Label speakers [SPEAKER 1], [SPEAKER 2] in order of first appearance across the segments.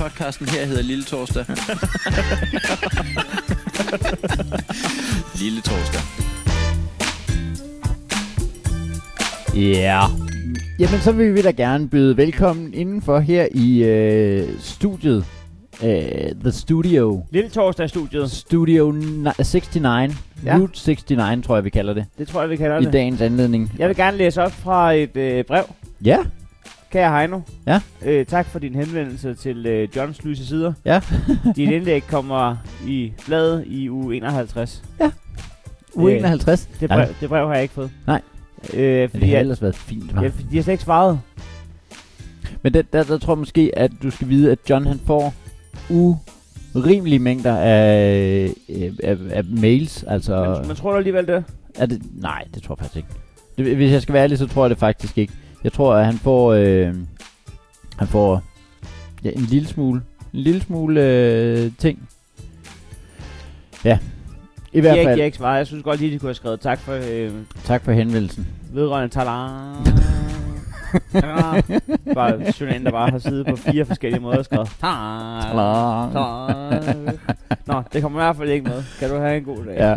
[SPEAKER 1] Podcasten her hedder Lille Torsdag. Lille Torsdag.
[SPEAKER 2] Ja. Yeah. Jamen, så vil vi da gerne byde velkommen indenfor her i øh, studiet. Øh, the Studio.
[SPEAKER 3] Lille torsdagsstudiet.
[SPEAKER 2] Studio ni- 69.
[SPEAKER 3] Ja.
[SPEAKER 2] Ja. Route 69, tror jeg, vi kalder det.
[SPEAKER 3] Det tror jeg, vi kalder
[SPEAKER 2] I
[SPEAKER 3] det.
[SPEAKER 2] dagens anledning.
[SPEAKER 3] Jeg vil gerne læse op fra et øh, brev.
[SPEAKER 2] Ja.
[SPEAKER 3] Kære Heino.
[SPEAKER 2] Ja.
[SPEAKER 3] Øh, tak for din henvendelse til øh, Johns lyse sider.
[SPEAKER 2] Ja.
[SPEAKER 3] Dit indlæg kommer i bladet i uge 51. Øh,
[SPEAKER 2] U51.
[SPEAKER 3] Det
[SPEAKER 2] Nej,
[SPEAKER 3] brev, det brev har jeg ikke fået.
[SPEAKER 2] Nej.
[SPEAKER 3] Øh,
[SPEAKER 2] Men det
[SPEAKER 3] fordi
[SPEAKER 2] har
[SPEAKER 3] jeg,
[SPEAKER 2] ellers været fint, hva'?
[SPEAKER 3] jeg, de har slet ikke svaret.
[SPEAKER 2] Men der, der, der tror jeg måske, at du skal vide, at John han får urimelige mængder af, øh, af, af mails. Altså,
[SPEAKER 3] Men, men tror du alligevel det?
[SPEAKER 2] er det, nej, det tror jeg faktisk ikke. Det, hvis jeg skal være ærlig, så tror jeg det faktisk ikke. Jeg tror, at han får, øh, han får ja, en lille smule, en lille smule øh, ting. Ja, i
[SPEAKER 3] De har
[SPEAKER 2] hvert
[SPEAKER 3] ikke,
[SPEAKER 2] fald.
[SPEAKER 3] de har ikke svaret. Jeg synes godt lige, de kunne have skrevet tak for øh,
[SPEAKER 2] Tak for henvendelsen.
[SPEAKER 3] vedrørende talar. bare journalen, der bare har siddet på fire forskellige måder og skrevet. Talar.
[SPEAKER 2] Tadaa.
[SPEAKER 3] øh, Nå, det kommer i hvert fald ikke med. Kan du have en god dag?
[SPEAKER 2] Ja.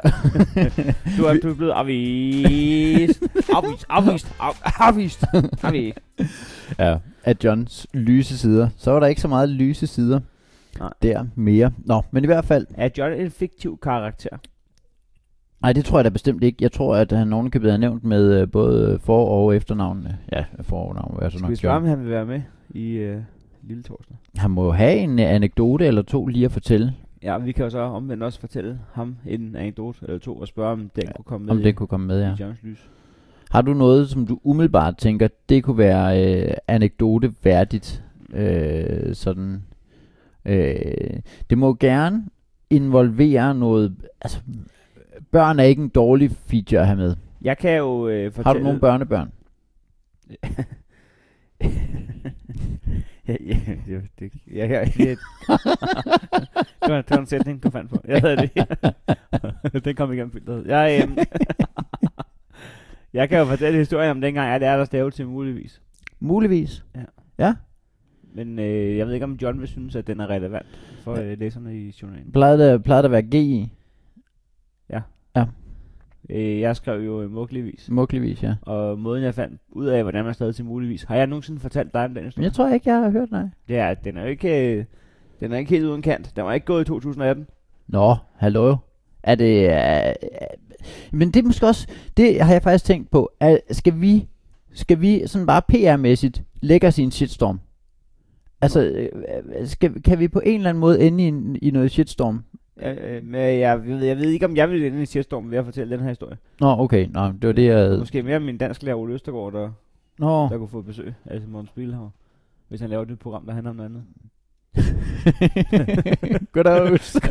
[SPEAKER 3] Du er, du er blevet afvist. Afvist, afvist, af- afvist, afvist.
[SPEAKER 2] ja, af Johns lyse sider. Så var der ikke så meget lyse sider
[SPEAKER 3] Nej.
[SPEAKER 2] der mere. Nå, men i hvert fald,
[SPEAKER 3] Er John en fiktiv karakter?
[SPEAKER 2] nej, det tror jeg da bestemt ikke. Jeg tror, at han ovenikøbet er nævnt med øh, både for- og efternavnene. Ja, fornavn er så
[SPEAKER 3] Skal vi
[SPEAKER 2] nok
[SPEAKER 3] spørge, om
[SPEAKER 2] John.
[SPEAKER 3] han vil være med i øh, Lille Torsdag?
[SPEAKER 2] Han må jo have en øh, anekdote eller to lige at fortælle,
[SPEAKER 3] Ja, vi kan jo så omvendt også fortælle ham en anekdote eller to og spørge, om den ja, kunne komme med
[SPEAKER 2] om
[SPEAKER 3] i,
[SPEAKER 2] det kunne komme med, ja.
[SPEAKER 3] i Johns lys.
[SPEAKER 2] Har du noget, som du umiddelbart tænker, det kunne være øh, anekdoteværdigt? Øh, sådan. Øh, det må gerne involvere noget... Altså, børn er ikke en dårlig feature at have med.
[SPEAKER 3] Jeg kan jo øh, fortælle...
[SPEAKER 2] Har du nogle børnebørn?
[SPEAKER 3] ja, ja, det, det, ja, ja, ja. det, var, det var en sætning, du fandt på. Jeg havde det. Den kom igennem filteret. Jeg, øhm, jeg kan jo fortælle historien om dengang, jeg lærte at stave til muligvis.
[SPEAKER 2] Muligvis.
[SPEAKER 3] Men øh, jeg ved ikke, om John vil synes, at den er relevant for øh, læserne i journalen.
[SPEAKER 2] Plejede der, plejede der at være G i?
[SPEAKER 3] Øh, jeg skrev jo øh, mugligvis.
[SPEAKER 2] Muligvis, ja.
[SPEAKER 3] Og måden, jeg fandt ud af, hvordan man stavede til muligvis. Har jeg nogensinde fortalt dig om den
[SPEAKER 2] Men
[SPEAKER 3] historie?
[SPEAKER 2] jeg tror ikke, jeg har hørt nej.
[SPEAKER 3] Det er, den er jo ikke, øh, den er ikke helt uden kant. Den var ikke gået i 2018.
[SPEAKER 2] Nå, hallo. Er det... Øh, øh, men det er måske også... Det har jeg faktisk tænkt på. Er, skal vi... Skal vi sådan bare PR-mæssigt lægge os i en shitstorm? Altså, øh, øh, skal, kan vi på en eller anden måde ende i, en, i noget shitstorm?
[SPEAKER 3] Øh, øh, men jeg, ved, jeg ved ikke, om jeg ville ende i shitstorm ved at fortælle den her historie.
[SPEAKER 2] Nå, okay. Nå, det var det, jeg...
[SPEAKER 3] Måske mere min dansk lærer Ole Østergaard, der,
[SPEAKER 2] Nå.
[SPEAKER 3] der kunne få besøg af Simon Spielhavn. Hvis han laver et nyt program, der handler om noget andet.
[SPEAKER 2] Goddag, Øst.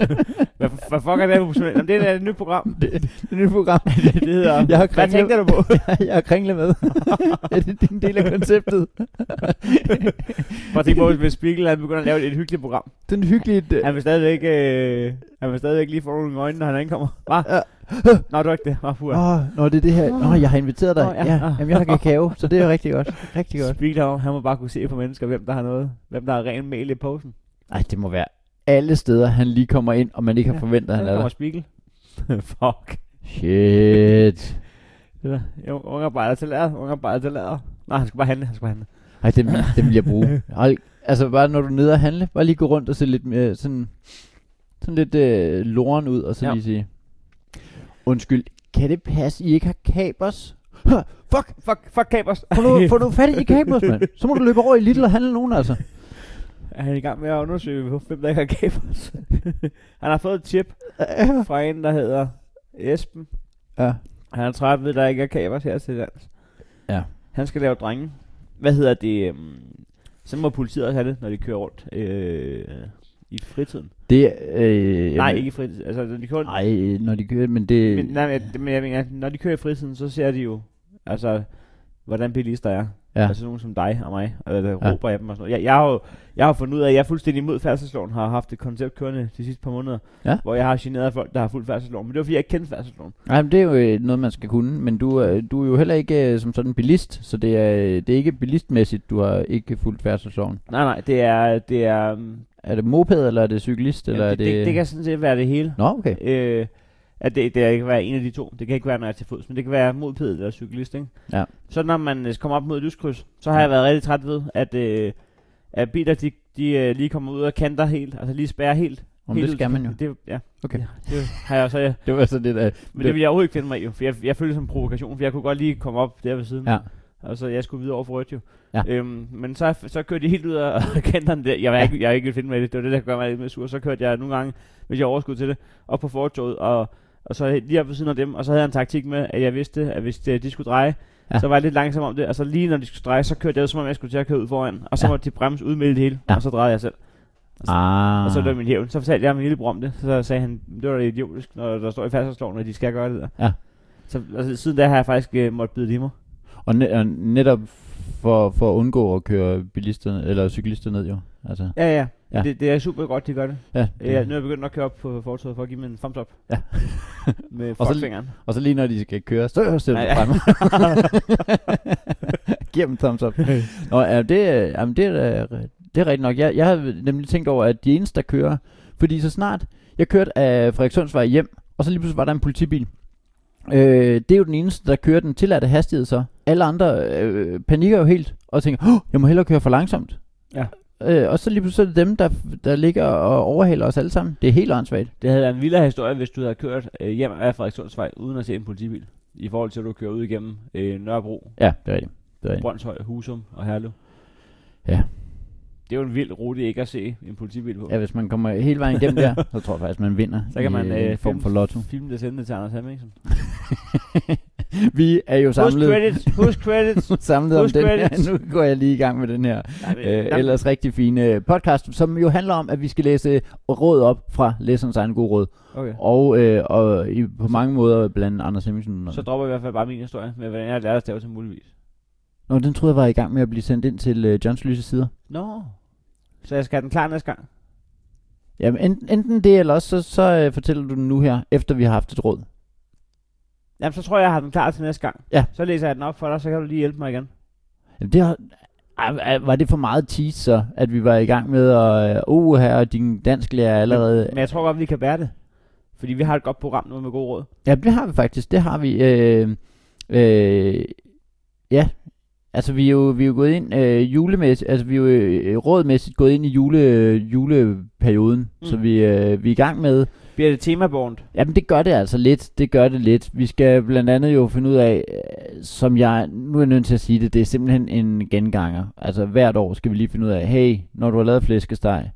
[SPEAKER 3] Hvad, f- hvad fuck er det her på Jamen, det er et nyt program.
[SPEAKER 2] Det, det nye program.
[SPEAKER 3] Det hedder...
[SPEAKER 2] Jeg har
[SPEAKER 3] Hvad
[SPEAKER 2] kringlet-
[SPEAKER 3] tænker du på?
[SPEAKER 2] jeg har kringle med. er det, det er en del af konceptet?
[SPEAKER 3] Bare tænk på, hvis Spiegel han begynder at lave et hyggeligt program.
[SPEAKER 2] Den hyggelige... øh,
[SPEAKER 3] Han vil stadigvæk, øh, han vil stadigvæk lige få nogle øjne, når han ankommer. Hva?
[SPEAKER 2] Ja.
[SPEAKER 3] Nå, det var ikke det. Hva, puha.
[SPEAKER 2] Åh, oh, nå, det er det her. Nå, jeg har inviteret dig.
[SPEAKER 3] Nå, ja.
[SPEAKER 2] ja. ja. Jamen, jeg har kakao, så det er rigtig godt. Rigtig godt.
[SPEAKER 3] Spiegel, han må bare kunne se på mennesker, hvem der har noget. Hvem der har ren mel i posen.
[SPEAKER 2] Ej, det må være alle steder, han lige kommer ind, og man ikke har
[SPEAKER 3] Ja,
[SPEAKER 2] forventet, at
[SPEAKER 3] Han
[SPEAKER 2] han
[SPEAKER 3] kommer
[SPEAKER 2] er der.
[SPEAKER 3] Spiegel. Fuck.
[SPEAKER 2] Shit.
[SPEAKER 3] Det der. Jo, unge arbejder til lærer, unge arbejder til lærer. Nej, han skal bare handle, han skal bare handle.
[SPEAKER 2] Ej, den, den vil jeg bruge. Hold, altså, bare når du er nede og handle, bare lige gå rundt og se lidt mere sådan, sådan lidt øh, loren ud, og så
[SPEAKER 3] Ja.
[SPEAKER 2] ja. lige sige, undskyld, kan det passe, I ikke har kapers? Huh, fuck,
[SPEAKER 3] Fuck, fuck kapers.
[SPEAKER 2] få nu, få nu fat i kapers, mand. Så må du løbe over i Lidl og handle nogen, altså.
[SPEAKER 3] Er han i gang med at undersøge, hvem der ikke har kapers? han har fået et tip fra en, der hedder Esben.
[SPEAKER 2] Ja.
[SPEAKER 3] Han er træt ved, at der ikke er kapers her til lands.
[SPEAKER 2] Ja.
[SPEAKER 3] Han skal lave drenge. Hvad hedder det? øhm, Så må politiet også have det, når de kører rundt. Øh, I fritiden.
[SPEAKER 2] Det, øh,
[SPEAKER 3] Jamen. Nej,
[SPEAKER 2] jamen-
[SPEAKER 3] ikke i fritiden. Altså, når de kører rundt.
[SPEAKER 2] Nej, når de kører, men det...
[SPEAKER 3] Men, nej, men jeg- men jeg mener, når de kører i fritiden, så ser de jo, altså, hvordan bilister er.
[SPEAKER 2] Ja.
[SPEAKER 3] Ja. Altså nogen som dig og mig, og der
[SPEAKER 2] Ja.
[SPEAKER 3] råber af dem og sådan noget. Jeg, jeg, har jo, jeg har fundet ud af, at jeg er fuldstændig imod færdselsloven, har haft et koncept kørende de sidste par måneder,
[SPEAKER 2] Ja.
[SPEAKER 3] hvor jeg har generet folk, der har fuldt færdselsloven. Men det var fordi, jeg ikke kendte færdselsloven.
[SPEAKER 2] Nej, men det er jo øh, noget, man skal kunne, men du, øh, du er jo heller ikke øh, som sådan bilist, så det er, øh, det er ikke bilistmæssigt, du har ikke fuldt færdselsloven.
[SPEAKER 3] Nej, nej, det er... Det er, mm,
[SPEAKER 2] Er det moped, eller er det cyklist, eller
[SPEAKER 3] jamen,
[SPEAKER 2] er
[SPEAKER 3] det, det,
[SPEAKER 2] det...
[SPEAKER 3] det, det, kan sådan set være det hele.
[SPEAKER 2] Nå, okay.
[SPEAKER 3] Øh, at det, det kan være en af de to. Det kan ikke være, når jeg er til fods, men det kan være modpædet eller cyklist, ikke?
[SPEAKER 2] Ja.
[SPEAKER 3] Så når man øh, kommer op mod et lyskryds, så har
[SPEAKER 2] Ja.
[SPEAKER 3] jeg været rigtig træt ved, at, øh, at biler, de, de øh, lige kommer ud og kanter helt, altså lige spærrer helt.
[SPEAKER 2] Om
[SPEAKER 3] helt
[SPEAKER 2] det
[SPEAKER 3] ud
[SPEAKER 2] skal
[SPEAKER 3] til-
[SPEAKER 2] man jo.
[SPEAKER 3] Det, ja.
[SPEAKER 2] Okay.
[SPEAKER 3] Ja, det har jeg så, ja.
[SPEAKER 2] Det var så det der...
[SPEAKER 3] Men det vil jeg overhovedet ikke finde mig i, jo, for jeg, jeg følte det som en provokation, for jeg kunne godt lige komme op der ved siden.
[SPEAKER 2] Ja.
[SPEAKER 3] Og så jeg skulle videre over for rødt jo.
[SPEAKER 2] Ja.
[SPEAKER 3] Øhm, men så, så kørte de helt ud af kanterne der. Jeg var
[SPEAKER 2] Ja.
[SPEAKER 3] ikke, jeg var ikke finde med i det. Det var det, der gør mig lidt mere sur. Så kørte jeg nogle gange, hvis jeg overskud til det, op på fortoget og, og så lige op ved siden af dem. Og så havde jeg en taktik med, at jeg vidste, at hvis øh, de, de skulle dreje,
[SPEAKER 2] Ja.
[SPEAKER 3] ja. så var jeg lidt langsom om det. Og så lige når de skulle dreje, så kørte jeg ud, som om jeg skulle til at køre ud foran. Og så
[SPEAKER 2] Ja.
[SPEAKER 3] ja. måtte de bremse ud med det hele.
[SPEAKER 2] Ja.
[SPEAKER 3] Ja. Og så drejede jeg selv.
[SPEAKER 2] Ah.
[SPEAKER 3] Og altså- så løb min hævn. Så fortalte jeg min lillebror om det. Så sagde han, det var da idiotisk, når der står i færdselsloven, at de skal gøre det der.
[SPEAKER 2] Ja.
[SPEAKER 3] Så altså, siden da har jeg faktisk øh, måttet bide det i mig.
[SPEAKER 2] Og, ne- og netop for, for at undgå at køre bilister eller cyklister ned, jo. Altså,
[SPEAKER 3] Ja, ja.
[SPEAKER 2] Ja.
[SPEAKER 3] ja. Det, det, er super godt, de gør det.
[SPEAKER 2] ja,
[SPEAKER 3] Ja, nu er jeg begyndt at køre op på fortovet for at give dem en thumbs up.
[SPEAKER 2] Ja.
[SPEAKER 3] Med
[SPEAKER 2] Og så-
[SPEAKER 3] fuckfingeren.
[SPEAKER 2] Og så lige når de skal køre, så sætter
[SPEAKER 3] Ja,
[SPEAKER 2] du
[SPEAKER 3] ja.
[SPEAKER 2] fremme. Giver dem thumbs up. Nå, ja, det, er- jamen, det, er, da- det er rigtigt nok. Jeg, jeg havde nemlig tænkt over, at de eneste, der kører... Fordi så snart jeg kørte af Frederikssundsvej hjem, og så lige pludselig var der en politibil. Øh, det er jo den eneste, der kører den tilladte hastighed så. Alle andre øh, panikker jo helt og tænker, oh, jeg må hellere køre for langsomt.
[SPEAKER 3] Ja.
[SPEAKER 2] Øh, og så lige pludselig er det dem, der, der ligger og overhaler os alle sammen. Det er helt åndssvagt.
[SPEAKER 3] Det havde været en vildere historie, hvis du havde kørt øh, hjem af Frederikssundsvej uden at se en politibil. I forhold til, at du kører ud igennem øh, Nørrebro,
[SPEAKER 2] Ja, det er rigtigt. Det er rigtigt.
[SPEAKER 3] Brøndshøj, Husum og Herlev.
[SPEAKER 2] Ja.
[SPEAKER 3] Det er jo en vild rute ikke at se en politibil på.
[SPEAKER 2] Ja, hvis man kommer hele vejen igennem der, så tror jeg faktisk, man vinder.
[SPEAKER 3] Så kan
[SPEAKER 2] i,
[SPEAKER 3] man
[SPEAKER 2] øh, en
[SPEAKER 3] øh,
[SPEAKER 2] form
[SPEAKER 3] film-
[SPEAKER 2] for lotto.
[SPEAKER 3] Film det sendte til Anders Hemmingsen.
[SPEAKER 2] Vi er jo
[SPEAKER 3] Who's
[SPEAKER 2] samlet,
[SPEAKER 3] credits? Who's credits?
[SPEAKER 2] samlet om
[SPEAKER 3] Husk
[SPEAKER 2] den her.
[SPEAKER 3] credits.
[SPEAKER 2] Nu går jeg lige i gang med den her
[SPEAKER 3] Nej, men-
[SPEAKER 2] øh,
[SPEAKER 3] nej,
[SPEAKER 2] ellers rigtig fine øh, podcast, som jo handler om, at vi skal læse øh, råd op fra læserens egen gode råd.
[SPEAKER 3] Okay.
[SPEAKER 2] Og, øh, og i, på mange måder blandt Anders Hemmingsen. og-
[SPEAKER 3] Så dropper jeg i hvert fald bare min historie med, hvordan jeg lærte at stave til muligvis.
[SPEAKER 2] Nå, den troede jeg var i gang med at blive sendt ind til øh, Johns Lyse Sider.
[SPEAKER 3] Nå. Så jeg skal have den klar næste gang.
[SPEAKER 2] Jamen, enten, enten det, eller også så, så øh, fortæller du den nu her, efter vi har haft et råd.
[SPEAKER 3] Jamen, så tror jeg, jeg har den klar til næste gang.
[SPEAKER 2] Ja.
[SPEAKER 3] Så læser jeg den op for dig, så kan du lige hjælpe mig igen.
[SPEAKER 2] Jamen, det har, Ej, ej, var det for meget tease så, at vi var i gang med at, øh, oh her, og din dansklærer er allerede...
[SPEAKER 3] Men jeg tror godt, vi kan bære det. Fordi vi har et godt program nu med god råd.
[SPEAKER 2] Ja, det har vi faktisk, det har vi. Øh, øh, ja, altså vi er jo, vi er jo gået ind øh, julemæssigt, altså vi er jo øh, rådmæssigt gået ind i jule, øh, juleperioden, mm.
[SPEAKER 3] Mm.
[SPEAKER 2] så vi, øh, vi er i gang med...
[SPEAKER 3] Bliver det temabornt?
[SPEAKER 2] Jamen det gør det altså lidt, det gør det lidt. Vi skal blandt andet jo finde ud af, øh, som jeg, nu er jeg nødt til at sige det, det er simpelthen en genganger. Altså hvert år skal vi lige finde ud af, hey, når du har lavet flæskesteg,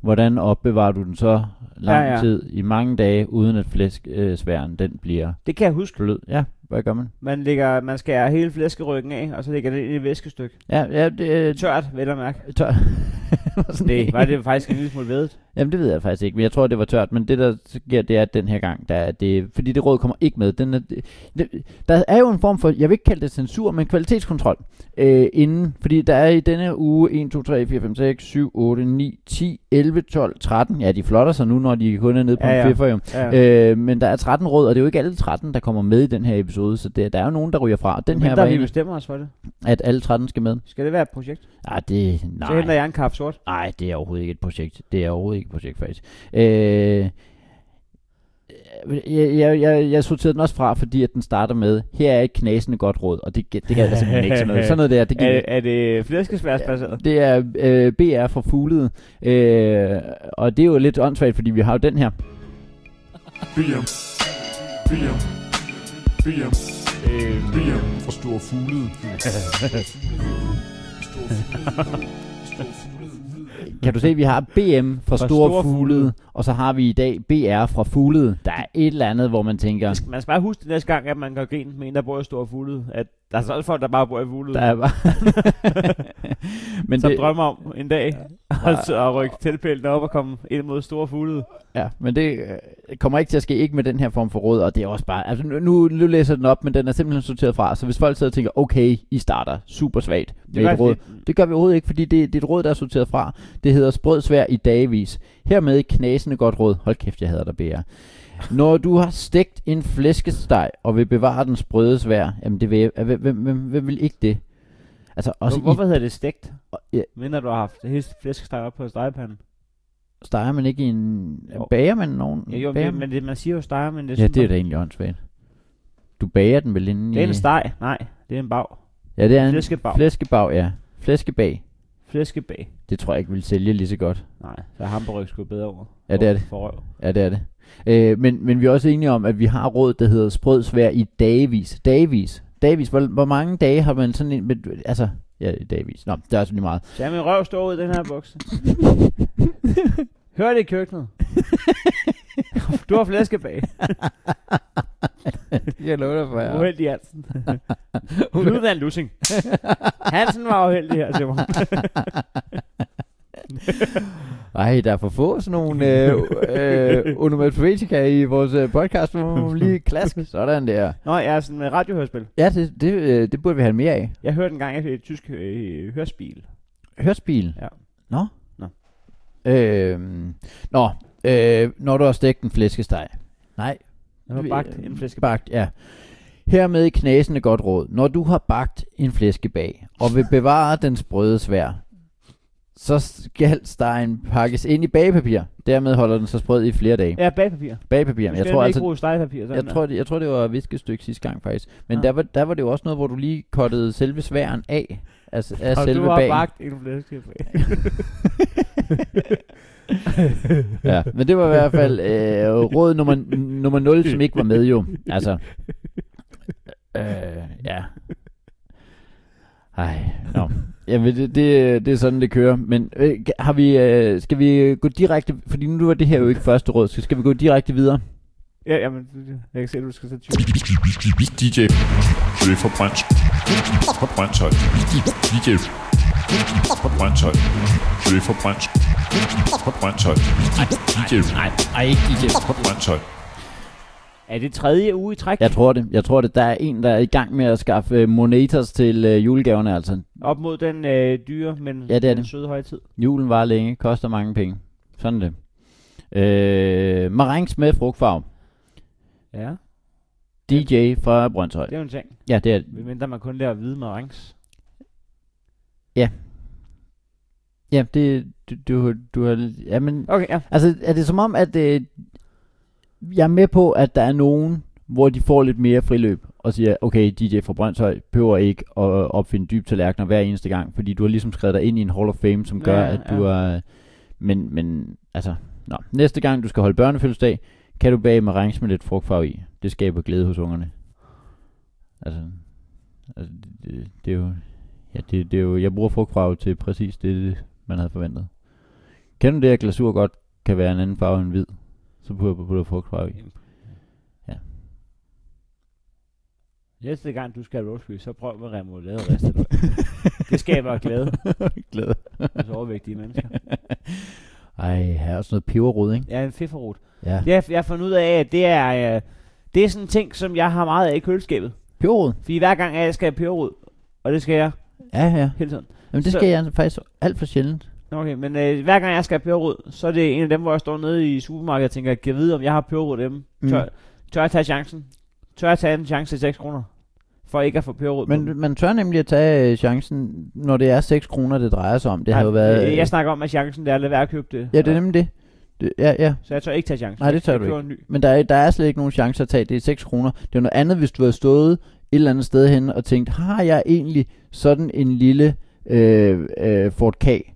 [SPEAKER 2] hvordan opbevarer du den så lang ja,
[SPEAKER 3] Ja,
[SPEAKER 2] ja.
[SPEAKER 3] ja.
[SPEAKER 2] tid, i mange dage, uden at flæskesværen øh, den bliver
[SPEAKER 3] Det kan jeg huske.
[SPEAKER 2] blød? Ja, hvad gør man?
[SPEAKER 3] Man, lægger, man skærer hele flæskeryggen af, og så lægger det ind i et væskestykke.
[SPEAKER 2] Ja, ja det er
[SPEAKER 3] Tørt, vel at mærke.
[SPEAKER 2] tør. Sådan
[SPEAKER 3] Nej,
[SPEAKER 2] en-
[SPEAKER 3] var det faktisk en lille smule vedet.
[SPEAKER 2] Jamen det ved jeg faktisk ikke, men jeg tror det var tørt, men det der sker, det er at den her gang, der er det, fordi det råd kommer ikke med, den er, det, det- der er jo en form for, jeg vil ikke kalde det censur, men kvalitetskontrol øh, inden, fordi der er i denne uge 1, 2, 3, 4, 5, 6, 7, 8, 9, 10, 11, 12, 13, ja de flotter sig nu, når de kun er nede på
[SPEAKER 3] Ja,
[SPEAKER 2] ja, en
[SPEAKER 3] ja.
[SPEAKER 2] fiffer jo,
[SPEAKER 3] Ja. Øh,
[SPEAKER 2] ja. øh, men der er 13 råd, og det er jo ikke alle 13, der kommer med i den her episode, så det, der er jo nogen, der ryger fra, og den
[SPEAKER 3] den
[SPEAKER 2] her
[SPEAKER 3] her
[SPEAKER 2] var
[SPEAKER 3] der vi
[SPEAKER 2] en,
[SPEAKER 3] bestemmer os for det.
[SPEAKER 2] at alle 13 skal med.
[SPEAKER 3] Skal det være et projekt?
[SPEAKER 2] Ah, det, nej.
[SPEAKER 3] Så henter jeg en kaffe sort.
[SPEAKER 2] Nej, det er overhovedet ikke et projekt. Det er overhovedet ikke et projekt, faktisk. Øh, jeg, jeg, jeg, jeg sorterede den også fra, fordi at den starter med, her er et knasende godt råd, og det, gæ- det gad jeg altså simpelthen ikke sådan noget. Sådan noget der, det
[SPEAKER 3] Er,
[SPEAKER 2] gik
[SPEAKER 3] er det flæskesværsbaseret?
[SPEAKER 2] det er øh, BR fra Fuglede, øh, og det er jo lidt åndssvagt, fordi vi har jo den her.
[SPEAKER 1] BM. BM. BM. BM. For stor fuglet.
[SPEAKER 2] Kan du se, vi har BM fra,
[SPEAKER 3] Fra
[SPEAKER 2] Store,
[SPEAKER 3] Store
[SPEAKER 2] Fuglede, og så har vi i dag BR fra Fuglede. Der er et eller andet, hvor man tænker,
[SPEAKER 3] Man skal- Man skal bare huske det næste gang, at man går grin med en, der bor i Stor Fuglede, at der er så også folk, der bare bor i Fuglede,
[SPEAKER 2] der er bare... Men
[SPEAKER 3] som
[SPEAKER 2] det,
[SPEAKER 3] drømmer om en dag at, at rykke teltpælene op og komme ind mod Stor Fuglede.
[SPEAKER 2] ja, men det øh, kommer ikke til at ske, ikke med den her form for råd, og det er også bare... Altså, nu, nu nu læser jeg den op, men den er simpelthen sorteret fra, så hvis folk sidder og tænker, okay, I starter super svagt med
[SPEAKER 3] gør
[SPEAKER 2] et råd,
[SPEAKER 3] fordi-
[SPEAKER 2] Det gør vi overhovedet ikke, fordi det, det er et råd, der er sorteret fra. Det hedder sprødsvær i dagvis. Hermed et knasende godt råd. Hold kæft, jeg hader dig, BR. Når du har stegt en flæskesteg og vil bevare den sprøde svær, jamen det vil, jeg- hvem, hvem, hvem, hvem vil ikke det? Altså også
[SPEAKER 3] Hvorfor hedder det stegt?
[SPEAKER 2] i, ja,
[SPEAKER 3] Mindre du har haft hele flæskesteg op på stegepanden.
[SPEAKER 2] steger man ikke i en...
[SPEAKER 3] Jo.
[SPEAKER 2] Bager man nogen?
[SPEAKER 3] Ja, jo,
[SPEAKER 2] bager
[SPEAKER 3] men,
[SPEAKER 2] man?
[SPEAKER 3] men det, man siger jo steger, men det er
[SPEAKER 2] ja,
[SPEAKER 3] sådan-
[SPEAKER 2] det er da egentlig åndssvagt. Du bager den vel inden
[SPEAKER 3] Det er
[SPEAKER 2] i...
[SPEAKER 3] en steg. Nej, det er en bag.
[SPEAKER 2] ja, det er en
[SPEAKER 3] Flæskebag.
[SPEAKER 2] flæskebag, ja. Flæskebag.
[SPEAKER 3] Flæskebag.
[SPEAKER 2] Det tror jeg ikke vil sælge lige så godt.
[SPEAKER 3] Nej, der er hamburg sgu bedre over.
[SPEAKER 2] Ja, det er det.
[SPEAKER 3] For røv.
[SPEAKER 2] Ja, det er det. Øh, men, men vi er også enige om, at vi har råd, der hedder sprød svær i dagvis. Dagvis. Dagvis. Hvor, hvor mange dage har man sådan en... men, Altså, ja, i dagvis. Nå, det er altså lige meget.
[SPEAKER 3] Så er min røv står ud i den her bukse. Hør det i køkkenet. du har flæskebag.
[SPEAKER 2] Jeg lover dig for,
[SPEAKER 3] Ja. Uheldig Hansen. Lyden af en lussing. Hansen var uheldig her til mig.
[SPEAKER 2] Ej, der er for få sådan nogle øh, øh, onomatopoetika i vores øh, podcast, hvor man lige klask. Sådan der.
[SPEAKER 3] Nå, jeg er sådan med radiohørspil.
[SPEAKER 2] Ja, det, det, øh, det burde vi have mere af.
[SPEAKER 3] Jeg hørte en gang et tysk øh, hørspil.
[SPEAKER 2] Hørspil?
[SPEAKER 3] Ja.
[SPEAKER 2] Nå?
[SPEAKER 3] Nå.
[SPEAKER 2] Øhm, nå, øh, når du har stegt en flæskesteg. Nej,
[SPEAKER 3] Jeg har
[SPEAKER 2] Vi-
[SPEAKER 3] bagt en flæskebag.
[SPEAKER 2] Bagt, ja. Hermed i knasende godt råd. Når du har bagt en flæskebag, og vil bevare den sprøde svær, så skal stegen pakkes ind i bagepapir. Dermed holder den sig sprød i flere dage. Ja.
[SPEAKER 3] Ja, bagpapir.
[SPEAKER 2] Bagepapir.
[SPEAKER 3] Jamen,
[SPEAKER 2] Jeg tror
[SPEAKER 3] ikke
[SPEAKER 2] altså,
[SPEAKER 3] bruge stegepapir.
[SPEAKER 2] jeg tror, det, jeg tror, det var et viskestykke sidste gang faktisk. Men
[SPEAKER 3] Ja.
[SPEAKER 2] der, var, der var det jo også noget, hvor du lige kottede selve sværen af. Altså af
[SPEAKER 3] og
[SPEAKER 2] selve
[SPEAKER 3] du har
[SPEAKER 2] bagen.
[SPEAKER 3] bagt en flæskebag.
[SPEAKER 2] Ja, men det var i hvert fald øh, råd nummer, nummer 0, som ikke var med jo. Altså, øh, ja. Ej, nå. Jamen, det, det, det er sådan, det kører. Men øh, har vi, øh, skal vi gå direkte, fordi nu var det her jo ikke første råd, så skal vi gå direkte videre?
[SPEAKER 3] ja, jamen, jeg kan se, at du skal tage 20.
[SPEAKER 1] DJ Ø fra Brøndshøj. Fra Brøndshøj. DJ fra Brøndshøj. Ø fra Brøndshøj. Fra Brøndshøj. DJ
[SPEAKER 2] Nej, ikke DJ.
[SPEAKER 1] fra Brøndshøj.
[SPEAKER 3] Er det tredje uge i træk?
[SPEAKER 2] Jeg tror det. Jeg tror det. Der er en, der er i gang med at skaffe øh, monetas til øh, julegaverne, altså.
[SPEAKER 3] Op mod den øh, dyre, men
[SPEAKER 2] Ja, det er
[SPEAKER 3] den
[SPEAKER 2] det.
[SPEAKER 3] søde højtid.
[SPEAKER 2] Julen var længe, koster mange penge. Sådan er det. Øh, marengs med frugtfarve.
[SPEAKER 3] Ja,
[SPEAKER 2] DJ fra Brøndshøj.
[SPEAKER 3] det er jo en ting.
[SPEAKER 2] Ja, det er
[SPEAKER 3] Medmindre man kun lærer at vide med rangs.
[SPEAKER 2] ja, det du, du, du har ja, men
[SPEAKER 3] Okay, ja.
[SPEAKER 2] altså er det som om at øh, jeg er med på at der er nogen hvor de får lidt mere friløb og siger, okay, DJ fra Brøndshøj behøver ikke at øh, opfinde dybe tallerkener hver eneste gang, fordi du har ligesom skrevet dig ind i en Hall of Fame, som gør,
[SPEAKER 3] Ja,
[SPEAKER 2] at du
[SPEAKER 3] ja.
[SPEAKER 2] er... Men, men, altså, nå. Næste gang, du skal holde børnefødselsdag, kan du bage med range med lidt frugtfarve i. Det skaber glæde hos ungerne. Altså, altså det, det, det, er jo... Ja, det, det er jo... Jeg bruger frugtfarve til præcis det, man havde forventet. Kender du det, at glasur godt kan være en anden farve end hvid? Så putter du putter frugtfarve i.
[SPEAKER 3] Næste gang, du skal have roastbeef, så prøv med remoulade og ristet løg. Det skaber glæde
[SPEAKER 2] glæde.
[SPEAKER 3] hos overvægtige mennesker.
[SPEAKER 2] Ej, her er også noget peberrod, ikke?
[SPEAKER 3] Ja, en fifferot.
[SPEAKER 2] Ja.
[SPEAKER 3] Det har jeg- jeg har fundet ud af, at det er, øh, det er sådan en ting, som jeg har meget af i køleskabet.
[SPEAKER 2] Peberrod?
[SPEAKER 3] Fordi hver gang at jeg skal have peberrod, og det skal jeg
[SPEAKER 2] Ja, ja.
[SPEAKER 3] hele tiden.
[SPEAKER 2] Jamen, det
[SPEAKER 3] Så-
[SPEAKER 2] skal jeg faktisk alt for sjældent.
[SPEAKER 3] Nå, Okay, men øh, hver gang jeg skal have peberrod, så er det en af dem, hvor jeg står nede i supermarkedet og tænker, kan jeg vide, om jeg har peberrod hjemme?
[SPEAKER 2] Mm.
[SPEAKER 3] Mm. Tør, tør jeg tage chancen? Tør jeg tage en chance til 6 kroner? For ikke at få peberrod på?
[SPEAKER 2] Men man tør nemlig at tage øh, chancen, når det er 6 kroner, det drejer sig om. Det har jo
[SPEAKER 3] Nej,
[SPEAKER 2] været...
[SPEAKER 3] øh,
[SPEAKER 2] øh,
[SPEAKER 3] Jeg snakker om, at chancen det er at lade være at købe det.
[SPEAKER 2] ja, det er nemlig det. det ja, ja.
[SPEAKER 3] Så jeg tør ikke tage chancen.
[SPEAKER 2] Nej, det tør
[SPEAKER 3] jeg
[SPEAKER 2] du
[SPEAKER 3] køber en ny.
[SPEAKER 2] Men der er, der er slet ikke nogen chance at tage. Det er 6 kroner. Det er noget andet, hvis du havde stået et eller andet sted hen og tænkt, har jeg egentlig sådan en lille øh, øh, Ford K? Ikke?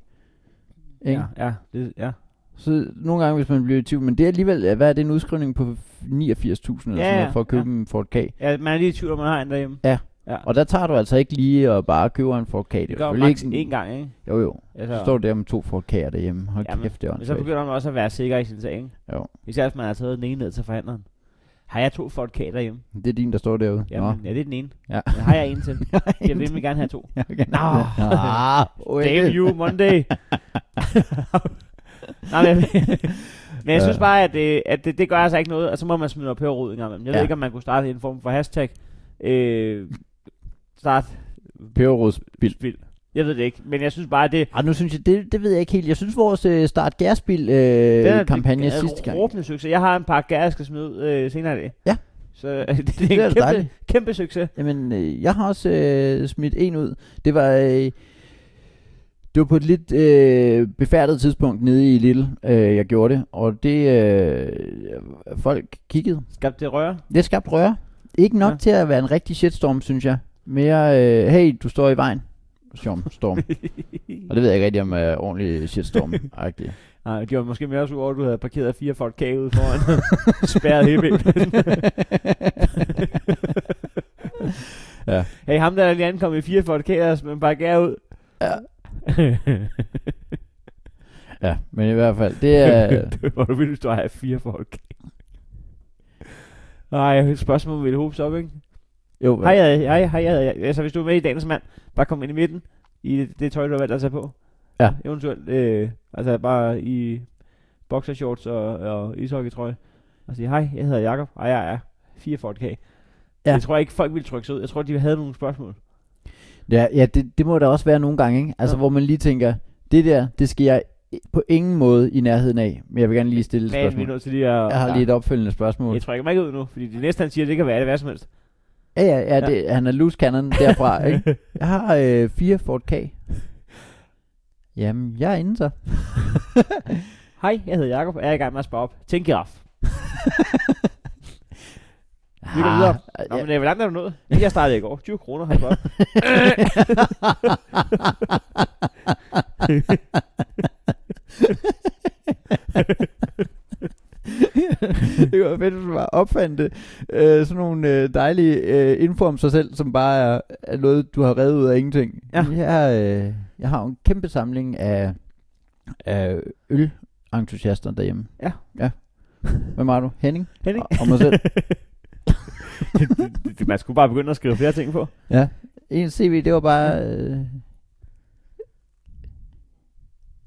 [SPEAKER 3] Ja, ja, det, ja.
[SPEAKER 2] Så nogle gange, hvis man bliver i tvivl, men det er alligevel, hvad er det en udskrivning på 89.000 eller sådan
[SPEAKER 3] Ja,
[SPEAKER 2] noget, for at
[SPEAKER 3] ja.
[SPEAKER 2] købe en Ford K?
[SPEAKER 3] ja. man er lige i tvivl, om man har en derhjemme.
[SPEAKER 2] Og der tager du altså ikke lige og bare køber en Ford K.
[SPEAKER 3] Det
[SPEAKER 2] er
[SPEAKER 3] gør man
[SPEAKER 2] selvfølgelig
[SPEAKER 3] maks
[SPEAKER 2] ikke en-
[SPEAKER 3] én gang, ikke?
[SPEAKER 2] Jo jo,
[SPEAKER 3] Altså,
[SPEAKER 2] så står du der med to Ford K'er derhjemme. Hold
[SPEAKER 3] Jamen,
[SPEAKER 2] kæft, det er
[SPEAKER 3] men så
[SPEAKER 2] åndssvagt.
[SPEAKER 3] begynder man også at være sikker i sin sag, ikke?
[SPEAKER 2] Jo.
[SPEAKER 3] Især hvis man har taget den ene ned til forhandleren. Har jeg to vodkaer derhjemme?
[SPEAKER 2] Det er din, der står derude.
[SPEAKER 3] Jamen, ja, det er den ene.
[SPEAKER 2] Ja.
[SPEAKER 3] Men Har jeg en til? Jeg vil nemlig gerne have to.
[SPEAKER 2] Ja, okay.
[SPEAKER 3] Nå.
[SPEAKER 2] Ah,
[SPEAKER 3] Damn you, Monday. Nej, men, men jeg synes bare, at, det, at det, det gør altså ikke noget, og så må man smide op herud en gang imellem. Jeg ja.
[SPEAKER 2] Ja.
[SPEAKER 3] ved ikke, om man kunne starte en form for hashtag. Øh, start
[SPEAKER 2] Peberrodsbil.
[SPEAKER 3] spil. Jeg ved det ikke, men jeg synes bare, at det,
[SPEAKER 2] Ah, nu synes jeg, det, det ved jeg ikke helt. Jeg synes, vores øh, start gærspil øh, kampagne
[SPEAKER 3] det,
[SPEAKER 2] sidste gang.
[SPEAKER 3] Råbende succes. Jeg har en par gær, jeg skal smide ud øh, senere i dag.
[SPEAKER 2] Ja.
[SPEAKER 3] Så det, det er
[SPEAKER 2] lyder da
[SPEAKER 3] en kæmpe,
[SPEAKER 2] dejligt.
[SPEAKER 3] kæmpe succes.
[SPEAKER 2] Jamen, øh, jeg har også øh, smidt en ud. Det var, øh, det var på et lidt øh, befærdet tidspunkt nede i Lille, øh, jeg gjorde det. Og det, øh, folk kiggede.
[SPEAKER 3] Skabte det røre?
[SPEAKER 2] Det skabte røre. Ikke nok
[SPEAKER 3] Ja.
[SPEAKER 2] ja. til at være en rigtig shitstorm, synes jeg. Mere, øh, hey, du står i vejen. Storm, storm. og det ved jeg ikke rigtig om er ordentlig shitstorm -agtig.
[SPEAKER 3] Nej, de var måske mere sur over, at du havde parkeret fire folk kage ude foran. Spærret hele bilen. Hey, ham der lige ankom i fire folk kage, men bare gær ud.
[SPEAKER 2] Ja. ja, men i hvert fald, det er... øh,
[SPEAKER 3] det var du ville, du have fire folk. Nej, spørgsmålet ville hopes op, ikke?
[SPEAKER 2] Jo,
[SPEAKER 3] Hej, hej, hej, hej, hej. Altså, hvis du er med i dagens mand, bare kom ind i midten i det, det tøj, du har valgt at tage på.
[SPEAKER 2] Ja.
[SPEAKER 3] Eventuelt, øh, altså bare i boxershorts og, og ishockeytrøje. Og sige, hej, jeg hedder Jakob, og jeg er 4 folk kage.
[SPEAKER 2] Ja.
[SPEAKER 3] Ja. Jeg tror ikke, folk ville trykke sig ud. Jeg tror, de havde nogle spørgsmål.
[SPEAKER 2] Ja, ja det, det må der også være nogle gange, ikke? Altså, ja.
[SPEAKER 3] Ja.
[SPEAKER 2] hvor man lige tænker, det der, det skal jeg i- på ingen måde i nærheden af, men jeg vil gerne lige stille et
[SPEAKER 3] Men vi er
[SPEAKER 2] spørgsmål.
[SPEAKER 3] nødt til lige at...
[SPEAKER 2] Jeg har lige et opfølgende spørgsmål.
[SPEAKER 3] Jeg trykker mig ikke ud nu, fordi det næste, han siger, det kan være det hvad som helst.
[SPEAKER 2] Ja, ja, ja, det, han er loose cannon derfra, ikke? Jeg har øh, fire Ford K. Jamen, jeg er inde så.
[SPEAKER 3] Hej, jeg hedder Jakob, og jeg er i gang med at spare op til en giraf. Vi går videre. Nå,
[SPEAKER 2] Ah, ja.
[SPEAKER 3] men øh, hvor langt er du nået? Jeg startede i går. 20 kroner har jeg sparet op.
[SPEAKER 2] det var fedt, hvis man bare opfandt det. Øh, sådan nogle øh, dejlige øh, info om sig selv, som bare er, er noget, du har reddet ud af ingenting.
[SPEAKER 3] Ja.
[SPEAKER 2] Jeg, øh, jeg har jo en kæmpe samling af, af ølentusiaster derhjemme.
[SPEAKER 3] Ja.
[SPEAKER 2] ja. Hvem har du? Henning?
[SPEAKER 3] Henning?
[SPEAKER 2] Og, og mig selv.
[SPEAKER 3] Det- Man skulle bare begynde at skrive flere ting på.
[SPEAKER 2] ja. En CV, det var bare... Øh,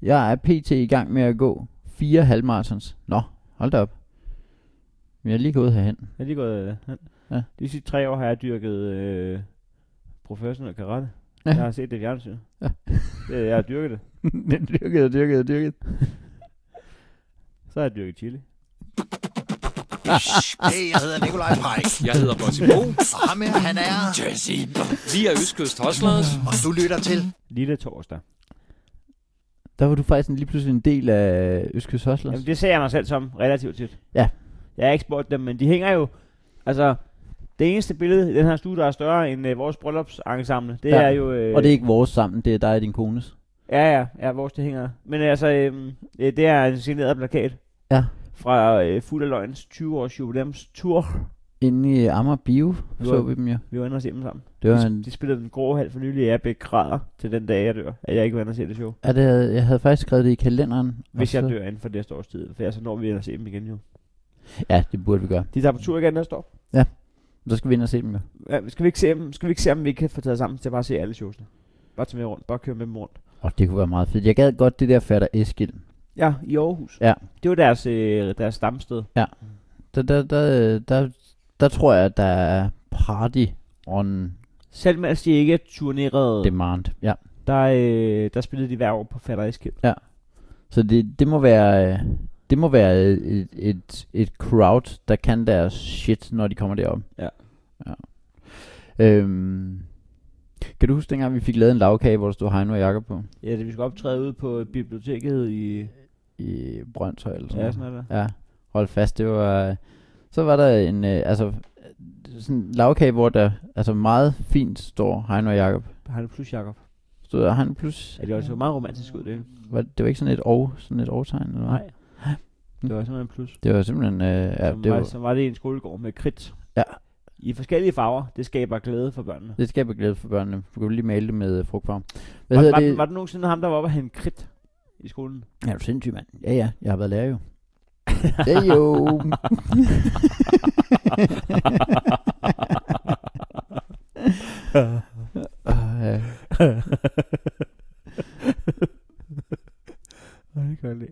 [SPEAKER 2] jeg er pt. i gang med at gå fire halvmarathons. Nå, hold da op. Men jeg er lige gået herhen.
[SPEAKER 3] Jeg er lige gået øh, hen.
[SPEAKER 2] Ja.
[SPEAKER 3] De sidste tre år har jeg dyrket øh, professionel karate.
[SPEAKER 2] Ja.
[SPEAKER 3] Ja. Jeg har set det i fjernsynet.
[SPEAKER 2] Ja.
[SPEAKER 3] Ja. Det, jeg har dyrket det.
[SPEAKER 2] Den dyrkede og dyrkede og dyrkede.
[SPEAKER 3] Så har jeg dyrket chili.
[SPEAKER 4] Hey, jeg hedder Nikolaj Pajk,
[SPEAKER 5] Jeg hedder Bossy Bo.
[SPEAKER 4] og ham her, han er,
[SPEAKER 5] Jesse. Vi er Østkyst Hoslers.
[SPEAKER 4] og du lytter til
[SPEAKER 3] Lille torsdag.
[SPEAKER 2] Der var du faktisk en, lige pludselig en del af Østkyst Hoslers.
[SPEAKER 3] Jamen, det ser jeg mig selv som relativt tit.
[SPEAKER 2] Ja.
[SPEAKER 3] Jeg har ikke spurgt dem, men de hænger jo... Altså, det eneste billede i den her studie, der er større end øh, vores bryllupsensemble, det
[SPEAKER 2] Ja.
[SPEAKER 3] ja. er jo... Øh,
[SPEAKER 2] Og det er ikke vores sammen, det er dig og din kones.
[SPEAKER 3] Ja, ja, ja, vores det hænger. Men altså, øhm, øh, det er en signeret plakat.
[SPEAKER 2] Ja.
[SPEAKER 3] Fra øh, Fuld af Løgns 20-års jubilæumstur.
[SPEAKER 2] Inde i Amager Bio
[SPEAKER 3] Det
[SPEAKER 2] så
[SPEAKER 3] var-
[SPEAKER 2] vi dem jo.
[SPEAKER 3] Vi var inde og se dem sammen.
[SPEAKER 2] Det var
[SPEAKER 3] de,
[SPEAKER 2] en,
[SPEAKER 3] de spillede den grå halv for nylig, og jeg begræder til den dag, jeg dør, at jeg ikke var inde og se det show.
[SPEAKER 2] ja, det havde, jeg havde faktisk skrevet det i kalenderen. og
[SPEAKER 3] Hvis jeg
[SPEAKER 2] så-
[SPEAKER 3] dør inden for næste års tid, for ellers så når vi ind og se dem igen jo.
[SPEAKER 2] Ja, det burde vi gøre.
[SPEAKER 3] De tager på tur igen næste år.
[SPEAKER 2] Så skal vi ind og se dem jo.
[SPEAKER 3] Ja, skal, vi ikke se, dem- skal vi ikke se, om vi kan få taget sammen til at bare se alle showsene? Bare tage med rundt, bare køre med dem rundt.
[SPEAKER 2] Og det kunne være meget fedt. Jeg gad godt det der fatter Eskild.
[SPEAKER 3] Ja, i Aarhus.
[SPEAKER 2] Ja.
[SPEAKER 3] Det var deres, øh, deres stamsted.
[SPEAKER 2] Der, der, der, der, der tror jeg, at der er party on
[SPEAKER 3] Selv mens de ikke turnerede, dem.
[SPEAKER 2] demand. Ja.
[SPEAKER 3] Der, øh, der spillede de hver år på Fatter Eskild.
[SPEAKER 2] Så det, det må være... øh, Det må være et, et, et crowd, der kan deres shit, når de kommer derop.
[SPEAKER 3] Ja.
[SPEAKER 2] ja. Øhm, kan du huske dengang, vi fik lavet en lavkage, hvor der stod Heino og Jakob på?
[SPEAKER 3] Ja, det vi skulle optræde ude på biblioteket i...
[SPEAKER 2] I Brøndshøj eller sådan
[SPEAKER 3] Ja,
[SPEAKER 2] noget.
[SPEAKER 3] sådan noget der.
[SPEAKER 2] Ja, hold fast, det var... øh, Så var der en, øh, altså, øh, sådan en lavkage, hvor der altså meget fint står Heino og Jakob.
[SPEAKER 3] Han plus Jakob.
[SPEAKER 2] Stod der Heino plus...
[SPEAKER 3] Ja, det var så meget romantisk ud, det.
[SPEAKER 2] Var, det var ikke sådan et og, sådan et og-tegn, eller hvad?
[SPEAKER 3] Nej. Det var simpelthen en plus.
[SPEAKER 2] Det var simpelthen... Øh, ja,
[SPEAKER 3] som,
[SPEAKER 2] det
[SPEAKER 3] var,
[SPEAKER 2] var,
[SPEAKER 3] som var det i en skolegård med kridt.
[SPEAKER 2] Ja.
[SPEAKER 3] I forskellige farver. Det skaber glæde for børnene.
[SPEAKER 2] Det skaber glæde for børnene. Du kan jo lige male det med øh, frugtfarve. Hvad
[SPEAKER 3] Var,
[SPEAKER 2] hedder
[SPEAKER 3] var,
[SPEAKER 2] det?
[SPEAKER 3] det... var det nogensinde ham, der var oppe og hente kridt i skolen?
[SPEAKER 2] Ja, du er sindssyg, mand. Ja, ja. Jeg har været lærer jo. det er jo. Uh, ja.
[SPEAKER 3] det kan jeg lide.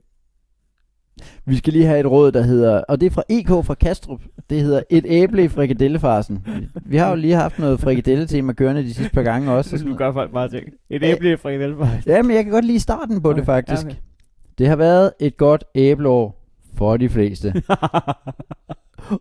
[SPEAKER 2] Vi skal lige have et råd, der hedder, og det er fra EK fra Kastrup, det hedder et æble i frikadellefarsen. Vi har jo lige haft noget frikadelle-tema kørende de sidste par gange også.
[SPEAKER 3] Så
[SPEAKER 2] og
[SPEAKER 3] skal
[SPEAKER 2] sådan
[SPEAKER 3] vi
[SPEAKER 2] noget.
[SPEAKER 3] gøre folk meget ting. Et
[SPEAKER 2] Øh,
[SPEAKER 3] æble fra en elvej.
[SPEAKER 2] Ja, men jeg kan godt lide starten på det
[SPEAKER 3] Okay,
[SPEAKER 2] faktisk.
[SPEAKER 3] ja, okay.
[SPEAKER 2] Det har været et godt æbleår for de fleste.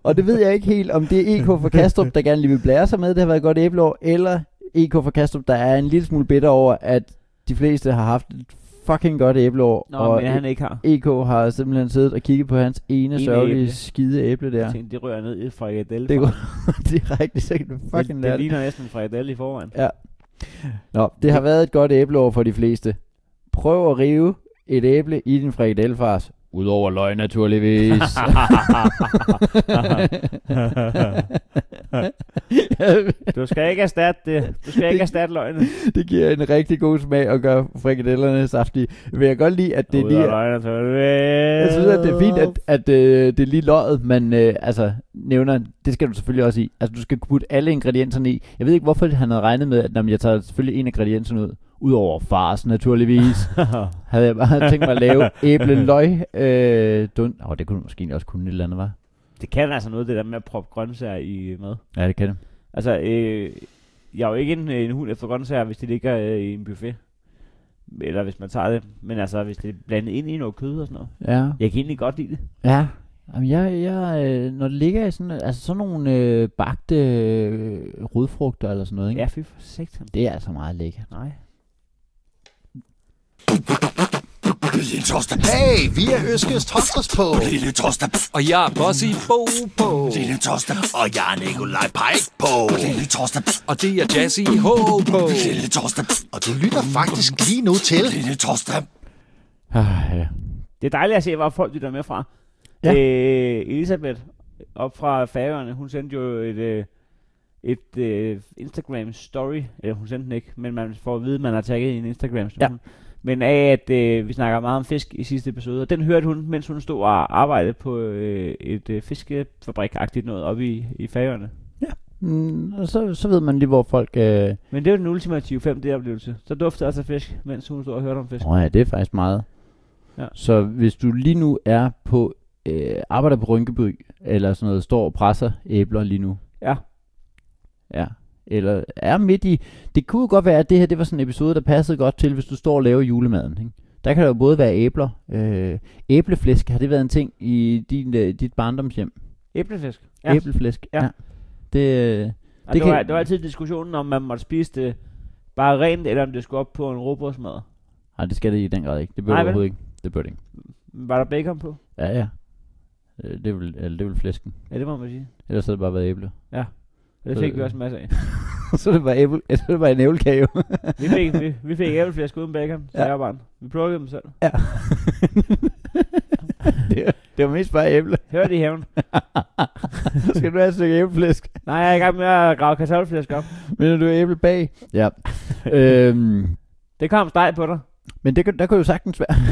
[SPEAKER 2] og det ved jeg ikke helt, om det er EK fra Kastrup, der gerne lige vil blære sig med, det har været et godt æbleår, eller EK fra Kastrup, der er en lille smule bitter over, at de fleste har haft et fucking godt æbleår.
[SPEAKER 3] Nå,
[SPEAKER 2] og
[SPEAKER 3] men han ikke har.
[SPEAKER 2] EK har simpelthen siddet og kigget på hans ene
[SPEAKER 3] Ene
[SPEAKER 2] sørgelige
[SPEAKER 3] æble.
[SPEAKER 2] skide æble der.
[SPEAKER 3] Jeg tænkte, det rører ned i frikadelle.
[SPEAKER 2] Det går direkte, så kan du fucking
[SPEAKER 3] det,
[SPEAKER 2] lære
[SPEAKER 3] det
[SPEAKER 2] det.
[SPEAKER 3] ligner næsten en frikadelle i forvejen.
[SPEAKER 2] Nå, det har været et godt æbleår for de fleste. Prøv at rive et æble i din frikadellefars. Udover løg naturligvis.
[SPEAKER 3] Du skal ikke erstatte det. Du skal ikke erstatte løgnet.
[SPEAKER 2] det giver en rigtig god smag at gøre frikadellerne saftige. Men jeg kan godt lide, at det lige er... Jeg synes, at det er fint, at, at øh, det er lige løget, man øh, altså, nævner. Det skal du selvfølgelig også i. Altså, du skal kunne putte alle ingredienserne i. Jeg ved ikke, hvorfor han havde regnet med, at når jeg tager selvfølgelig en af ingredienserne ud. Udover fars, naturligvis. havde jeg bare tænkt mig at lave æbleløg. Øh, dun. Åh, det kunne du måske egentlig også kunne et eller andet, var.
[SPEAKER 3] Det kan altså noget, det der med at proppe grøntsager i mad.
[SPEAKER 2] Ja, det kan det.
[SPEAKER 3] Altså, øh, jeg er jo ikke en, øh, en hund efter grøntsager, hvis det ligger øh, i en buffet. Eller hvis man tager det. Men altså, hvis det er blandet ind i noget kød og sådan noget.
[SPEAKER 2] Ja.
[SPEAKER 3] Jeg kan egentlig godt lide det.
[SPEAKER 2] Ja. Jamen, jeg, jeg, øh, når det ligger i sådan, altså sådan nogle øh, bagte øh, rodfrugter eller sådan noget, ikke?
[SPEAKER 3] Ja, fy for satan.
[SPEAKER 2] Det er altså meget lækkert.
[SPEAKER 3] Nej.
[SPEAKER 6] Lille torsdag.
[SPEAKER 4] Hey, vi er Øskes Tostes på.
[SPEAKER 6] Lille torsdag.
[SPEAKER 5] Og jeg er boss i Bo på.
[SPEAKER 6] Lille torsdag.
[SPEAKER 4] Og jeg er Nikolaj Pajk på.
[SPEAKER 6] Lille torsdag.
[SPEAKER 5] Og det er Jazz i H på.
[SPEAKER 6] Lille torsdag.
[SPEAKER 4] Og du lytter faktisk lige nu til.
[SPEAKER 6] Lille torsdag.
[SPEAKER 2] Ah, ja.
[SPEAKER 3] Det er dejligt at se, hvor folk lytter med fra.
[SPEAKER 2] Ja.
[SPEAKER 3] Ja. Øh, Elisabeth, op fra Færøerne, hun sendte jo et, øh, et øh, Instagram-story. Eller hun sendte den ikke, men man får at vide, at man har tagget i en instagram story
[SPEAKER 2] Ja.
[SPEAKER 3] Men af, at øh, vi snakker meget om fisk i sidste episode, og den hørte hun, mens hun stod og arbejdede på øh, et øh, fiskefabrik-agtigt noget oppe i, i Færøerne.
[SPEAKER 2] Mm, og så, så ved man lige, hvor folk... Øh...
[SPEAKER 3] Men det er jo den ultimative 5D-oplevelse. Så duftede altså fisk, mens hun stod og hørte om fisk.
[SPEAKER 2] Nå ja, det er faktisk meget.
[SPEAKER 3] Ja.
[SPEAKER 2] Så hvis du lige nu er på... Øh, arbejder på Rynkeby, eller sådan noget, står og presser æbler lige nu.
[SPEAKER 3] Ja.
[SPEAKER 2] Ja. Eller er midt i... Det kunne jo godt være, at det her det var sådan en episode, der passede godt til, hvis du står og laver julemaden. Ikke? Der kan der jo både være æbler. Øh, æbleflæsk, har det været en ting i din, øh, dit barndomshjem?
[SPEAKER 3] Æblefisk.
[SPEAKER 2] Ja. Æbleflæsk?
[SPEAKER 3] Ja.
[SPEAKER 2] Det, øh,
[SPEAKER 3] Og
[SPEAKER 2] Det
[SPEAKER 3] det, det, var,
[SPEAKER 2] kan-
[SPEAKER 3] det var altid diskussionen, om man måtte spise det bare rent, eller om det skulle op på en råbrødsmad.
[SPEAKER 2] nej, det skal det i den grad ikke. Det bør
[SPEAKER 3] Nej,
[SPEAKER 2] det
[SPEAKER 3] vel?
[SPEAKER 2] overhovedet ikke. Det bør det ikke.
[SPEAKER 3] Var der bacon på?
[SPEAKER 2] Ja, ja. Øh, Det vil, eller det vil flæsken.
[SPEAKER 3] Ja, det må man sige.
[SPEAKER 2] Ellers havde det bare været æble.
[SPEAKER 3] Det
[SPEAKER 2] Så-
[SPEAKER 3] fik vi også en masse af.
[SPEAKER 2] så er det bare, æble, så er det bare en æblekage.
[SPEAKER 3] Vi fik, vi, vi fik æbleflæsk uden bacon, så
[SPEAKER 2] Ja.
[SPEAKER 3] ja. jeg var barn. Vi plukkede dem selv.
[SPEAKER 2] ja. det, var- det var mest bare æble.
[SPEAKER 3] Hør det i haven.
[SPEAKER 2] Skal du have et stykke æbleflæsk?
[SPEAKER 3] Nej, jeg er i gang med at grave kartoffelflæsk op.
[SPEAKER 2] Men du æble bag? Ja. øhm,
[SPEAKER 3] Det kom steg på dig.
[SPEAKER 2] men det kan, der kan jo sagtens være...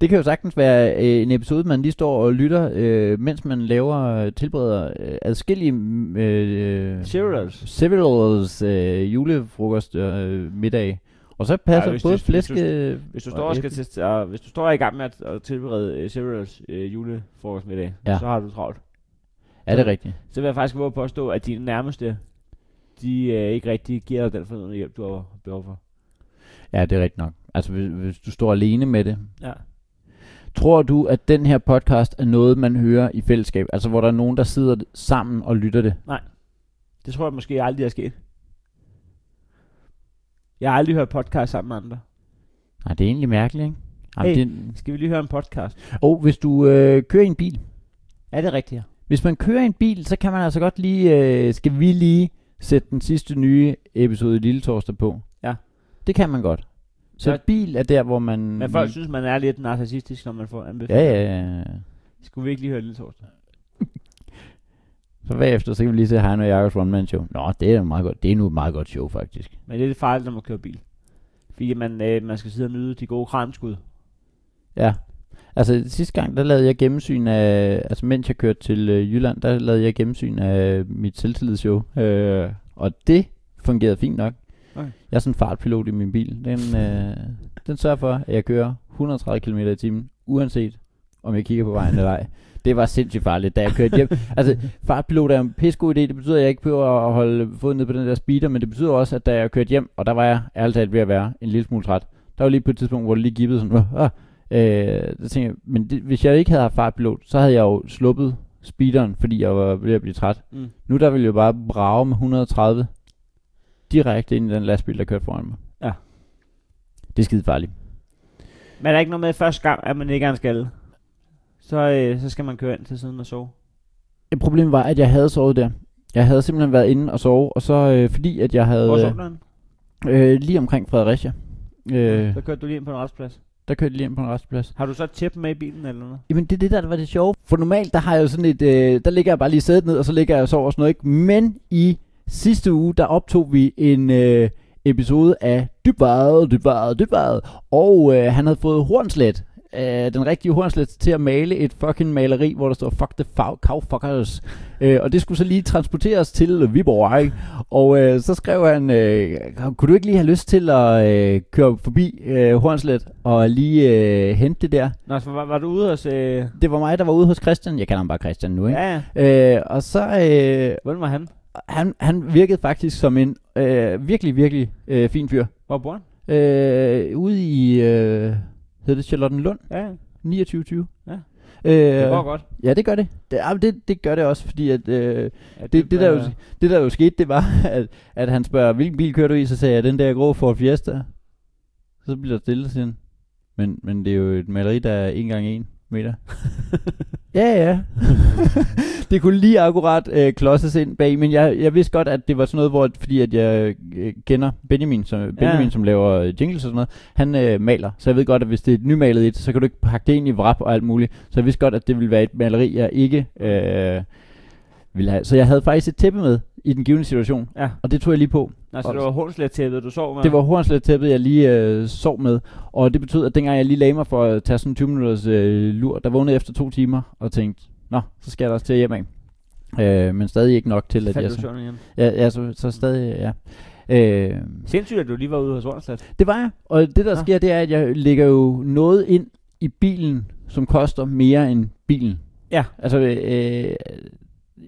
[SPEAKER 2] det kan jo sagtens være øh, en episode, man lige står og lytter, øh, mens man laver øh, tilbereder øh, adskillige... mm, Øh,
[SPEAKER 3] Cereals.
[SPEAKER 2] Cereals øh, julefrokost øh, middag. Og så passer
[SPEAKER 3] Ej, hvis
[SPEAKER 2] både
[SPEAKER 3] det- hvis
[SPEAKER 2] flæske...
[SPEAKER 3] du- Hvis du,
[SPEAKER 2] og
[SPEAKER 3] står og skal
[SPEAKER 2] æble.
[SPEAKER 3] til, og hvis du står i gang med at, at tilberede uh, cereals uh, julefrokost med i dag,
[SPEAKER 2] Ja.
[SPEAKER 3] ja. så har du travlt.
[SPEAKER 2] Er det rigtigt?
[SPEAKER 3] Så vil jeg faktisk våge på at stå, at dine nærmeste, de uh, ikke rigtig giver dig den fornødne hjælp, du har behov for.
[SPEAKER 2] Ja, det er rigtigt nok. Altså, hvis, hvis du står alene med det,
[SPEAKER 3] Ja.
[SPEAKER 2] Tror du, at den her podcast er noget, man hører i fællesskab? Altså, hvor der er nogen, der sidder sammen og lytter det?
[SPEAKER 3] Det tror jeg måske aldrig er sket. Jeg har aldrig hørt podcast sammen med andre.
[SPEAKER 2] Nej, Ah, det er egentlig mærkeligt, ikke? Jamen,
[SPEAKER 3] Hey.
[SPEAKER 2] det...
[SPEAKER 3] Skal vi lige høre en podcast?
[SPEAKER 2] Og hvis du øh, kører i en bil.
[SPEAKER 3] Er det rigtigt?
[SPEAKER 2] Hvis man kører i en bil, så kan man altså godt lige... Øh, skal vi lige sætte den sidste nye episode i Lille Torsdag på?
[SPEAKER 3] Ja.
[SPEAKER 2] Det kan man godt. Så
[SPEAKER 3] Ja.
[SPEAKER 2] bil er der, hvor man...
[SPEAKER 3] Men folk synes, man er lidt narcissistisk, når man får anbefalinger.
[SPEAKER 2] Ja, ja, ja.
[SPEAKER 3] Skulle vi ikke lige høre Lille Torsdag?
[SPEAKER 2] Så bagefter, så kan vi lige se Heino og Jacobs One Man Show. Nå, det er, meget godt. det er nu et meget godt show, faktisk.
[SPEAKER 3] Men det er lidt farligt, når man kører bil. Fordi man, øh, man skal sidde og nyde de gode kranskud.
[SPEAKER 2] Ja. Altså sidste gang, der lavede jeg gennemsyn af, altså mens jeg kørte til øh, Jylland, der lavede jeg gennemsyn af mit selvtillidsshow. Øh, og det fungerede fint nok.
[SPEAKER 3] Okay.
[SPEAKER 2] Jeg er sådan en fartpilot i min bil. Den, øh, den sørger for, at jeg kører 130 km i timen, uanset om jeg kigger på vejen eller ej. Det var sindssygt farligt, da jeg kørte hjem. altså, fartpilot er en pissegod idé. Det betyder, at jeg ikke behøver at holde foden ned på den der speeder, men det betyder også, at da jeg kørte hjem, og der var jeg ærligt talt ved at være en lille smule træt. Der var lige på et tidspunkt, hvor det lige gibbede sådan, "Åh, Øh, der tænkte jeg, men det, hvis jeg ikke havde haft fartpilot, så havde jeg jo sluppet speederen, fordi jeg var ved at blive træt.
[SPEAKER 3] Mm.
[SPEAKER 2] Mm. Nu der ville jeg jo bare brage med 130 direkte ind i den lastbil, der kørte foran mig.
[SPEAKER 3] Ja.
[SPEAKER 2] Det er skide farligt.
[SPEAKER 3] Men er der ikke noget med første gang, at man ikke er en skalle? Så, øh, så skal man køre ind til siden og sove.
[SPEAKER 2] Et problem var, at jeg havde sovet der. Jeg havde simpelthen været inde og sove, og så øh, fordi at jeg
[SPEAKER 3] Hvor
[SPEAKER 2] havde
[SPEAKER 3] sov du henne?
[SPEAKER 2] øh, lige omkring Fredericia, øh,
[SPEAKER 3] Så kørte du lige ind på en retsplads.
[SPEAKER 2] der kørte jeg lige ind på en restplads.
[SPEAKER 3] Har du så tæppe med i bilen eller noget?
[SPEAKER 2] Jamen det er det der, der var det sjove. For normalt, der har jeg jo sådan et, øh, der ligger jeg bare lige sædet ned, og så ligger jeg og sover og sådan noget, ikke? Men i sidste uge, der optog vi en øh, episode af Dybvaret, Dybvaret, Dybvaret, og øh, han havde fået hornslet, øh, den rigtige hornslet, til at male et fucking maleri, hvor der står fuck the fou- cowfuckers. Øh, og det skulle så lige transporteres til Viborg, ikke? Og øh, så skrev han, øh, kunne du ikke lige have lyst til at øh, køre forbi øh, hornslet og lige øh, hente det der?
[SPEAKER 3] Nå, så var, var du ude hos... Øh...
[SPEAKER 2] det var mig, der var ude hos Christian. Jeg kalder ham bare Christian nu, ikke?
[SPEAKER 3] Ja, ja.
[SPEAKER 2] Ja. Øh, og så, øh,
[SPEAKER 3] Hvordan var han?
[SPEAKER 2] han, han virkede faktisk som en øh, virkelig, virkelig øh, fin fyr.
[SPEAKER 3] Hvor bor han?
[SPEAKER 2] Øh, ude i, øh, hedder det Charlottenlund,
[SPEAKER 3] Ja, ja.
[SPEAKER 2] 2920.
[SPEAKER 3] Ja. det går
[SPEAKER 2] Øh,
[SPEAKER 3] godt.
[SPEAKER 2] ja, det gør det. Det, ah, det. det gør det også, fordi at, øh,
[SPEAKER 3] Ja,
[SPEAKER 2] det, det, der jo,
[SPEAKER 3] var-
[SPEAKER 2] det der jo skete, det var, at, at han spørger, hvilken bil kører du i? Så sagde jeg, den der grå Ford Fiesta. Så bliver der stille siden. Men, men det er jo et maleri, der er 1 gange 1 meter. ja, ja. det kunne lige akkurat øh, klodses ind bag, men jeg, jeg vidste godt, at det var sådan noget, hvor, fordi at jeg øh, kender Benjamin, som, Benjamin
[SPEAKER 3] Ja.
[SPEAKER 2] som laver øh, jingles og sådan noget, han øh, maler, så jeg ved godt, at hvis det er et nymalet et, så kan du ikke pakke det ind i vrap og alt muligt, så jeg vidste godt, at det ville være et maleri, jeg ikke øh, ville have. Så jeg havde faktisk et tæppe med i den givende situation,
[SPEAKER 3] Ja.
[SPEAKER 2] og det tog jeg lige på.
[SPEAKER 3] Nå, så det var hornslet du sov med?
[SPEAKER 2] Det var hornslet-tæppet, jeg lige øh, sov med, og det betød, at dengang jeg lige lagde mig for at tage sådan en 20 minutters øh, lur, der vågnede jeg efter to timer og tænkte, nå, så skal jeg da også til hjem af. Øh, men stadig ikke nok til, at
[SPEAKER 3] Faldt
[SPEAKER 2] jeg...
[SPEAKER 3] du
[SPEAKER 2] Så,
[SPEAKER 3] søvn igen?
[SPEAKER 2] ja, ja så, så stadig, ja. Øh,
[SPEAKER 3] Sindssygt, at du lige var ude hos hornslet.
[SPEAKER 2] det var jeg, og det der
[SPEAKER 3] Nå.
[SPEAKER 2] sker, det er, at jeg lægger jo noget ind i bilen, som koster mere end bilen.
[SPEAKER 3] Ja.
[SPEAKER 2] Altså, øh,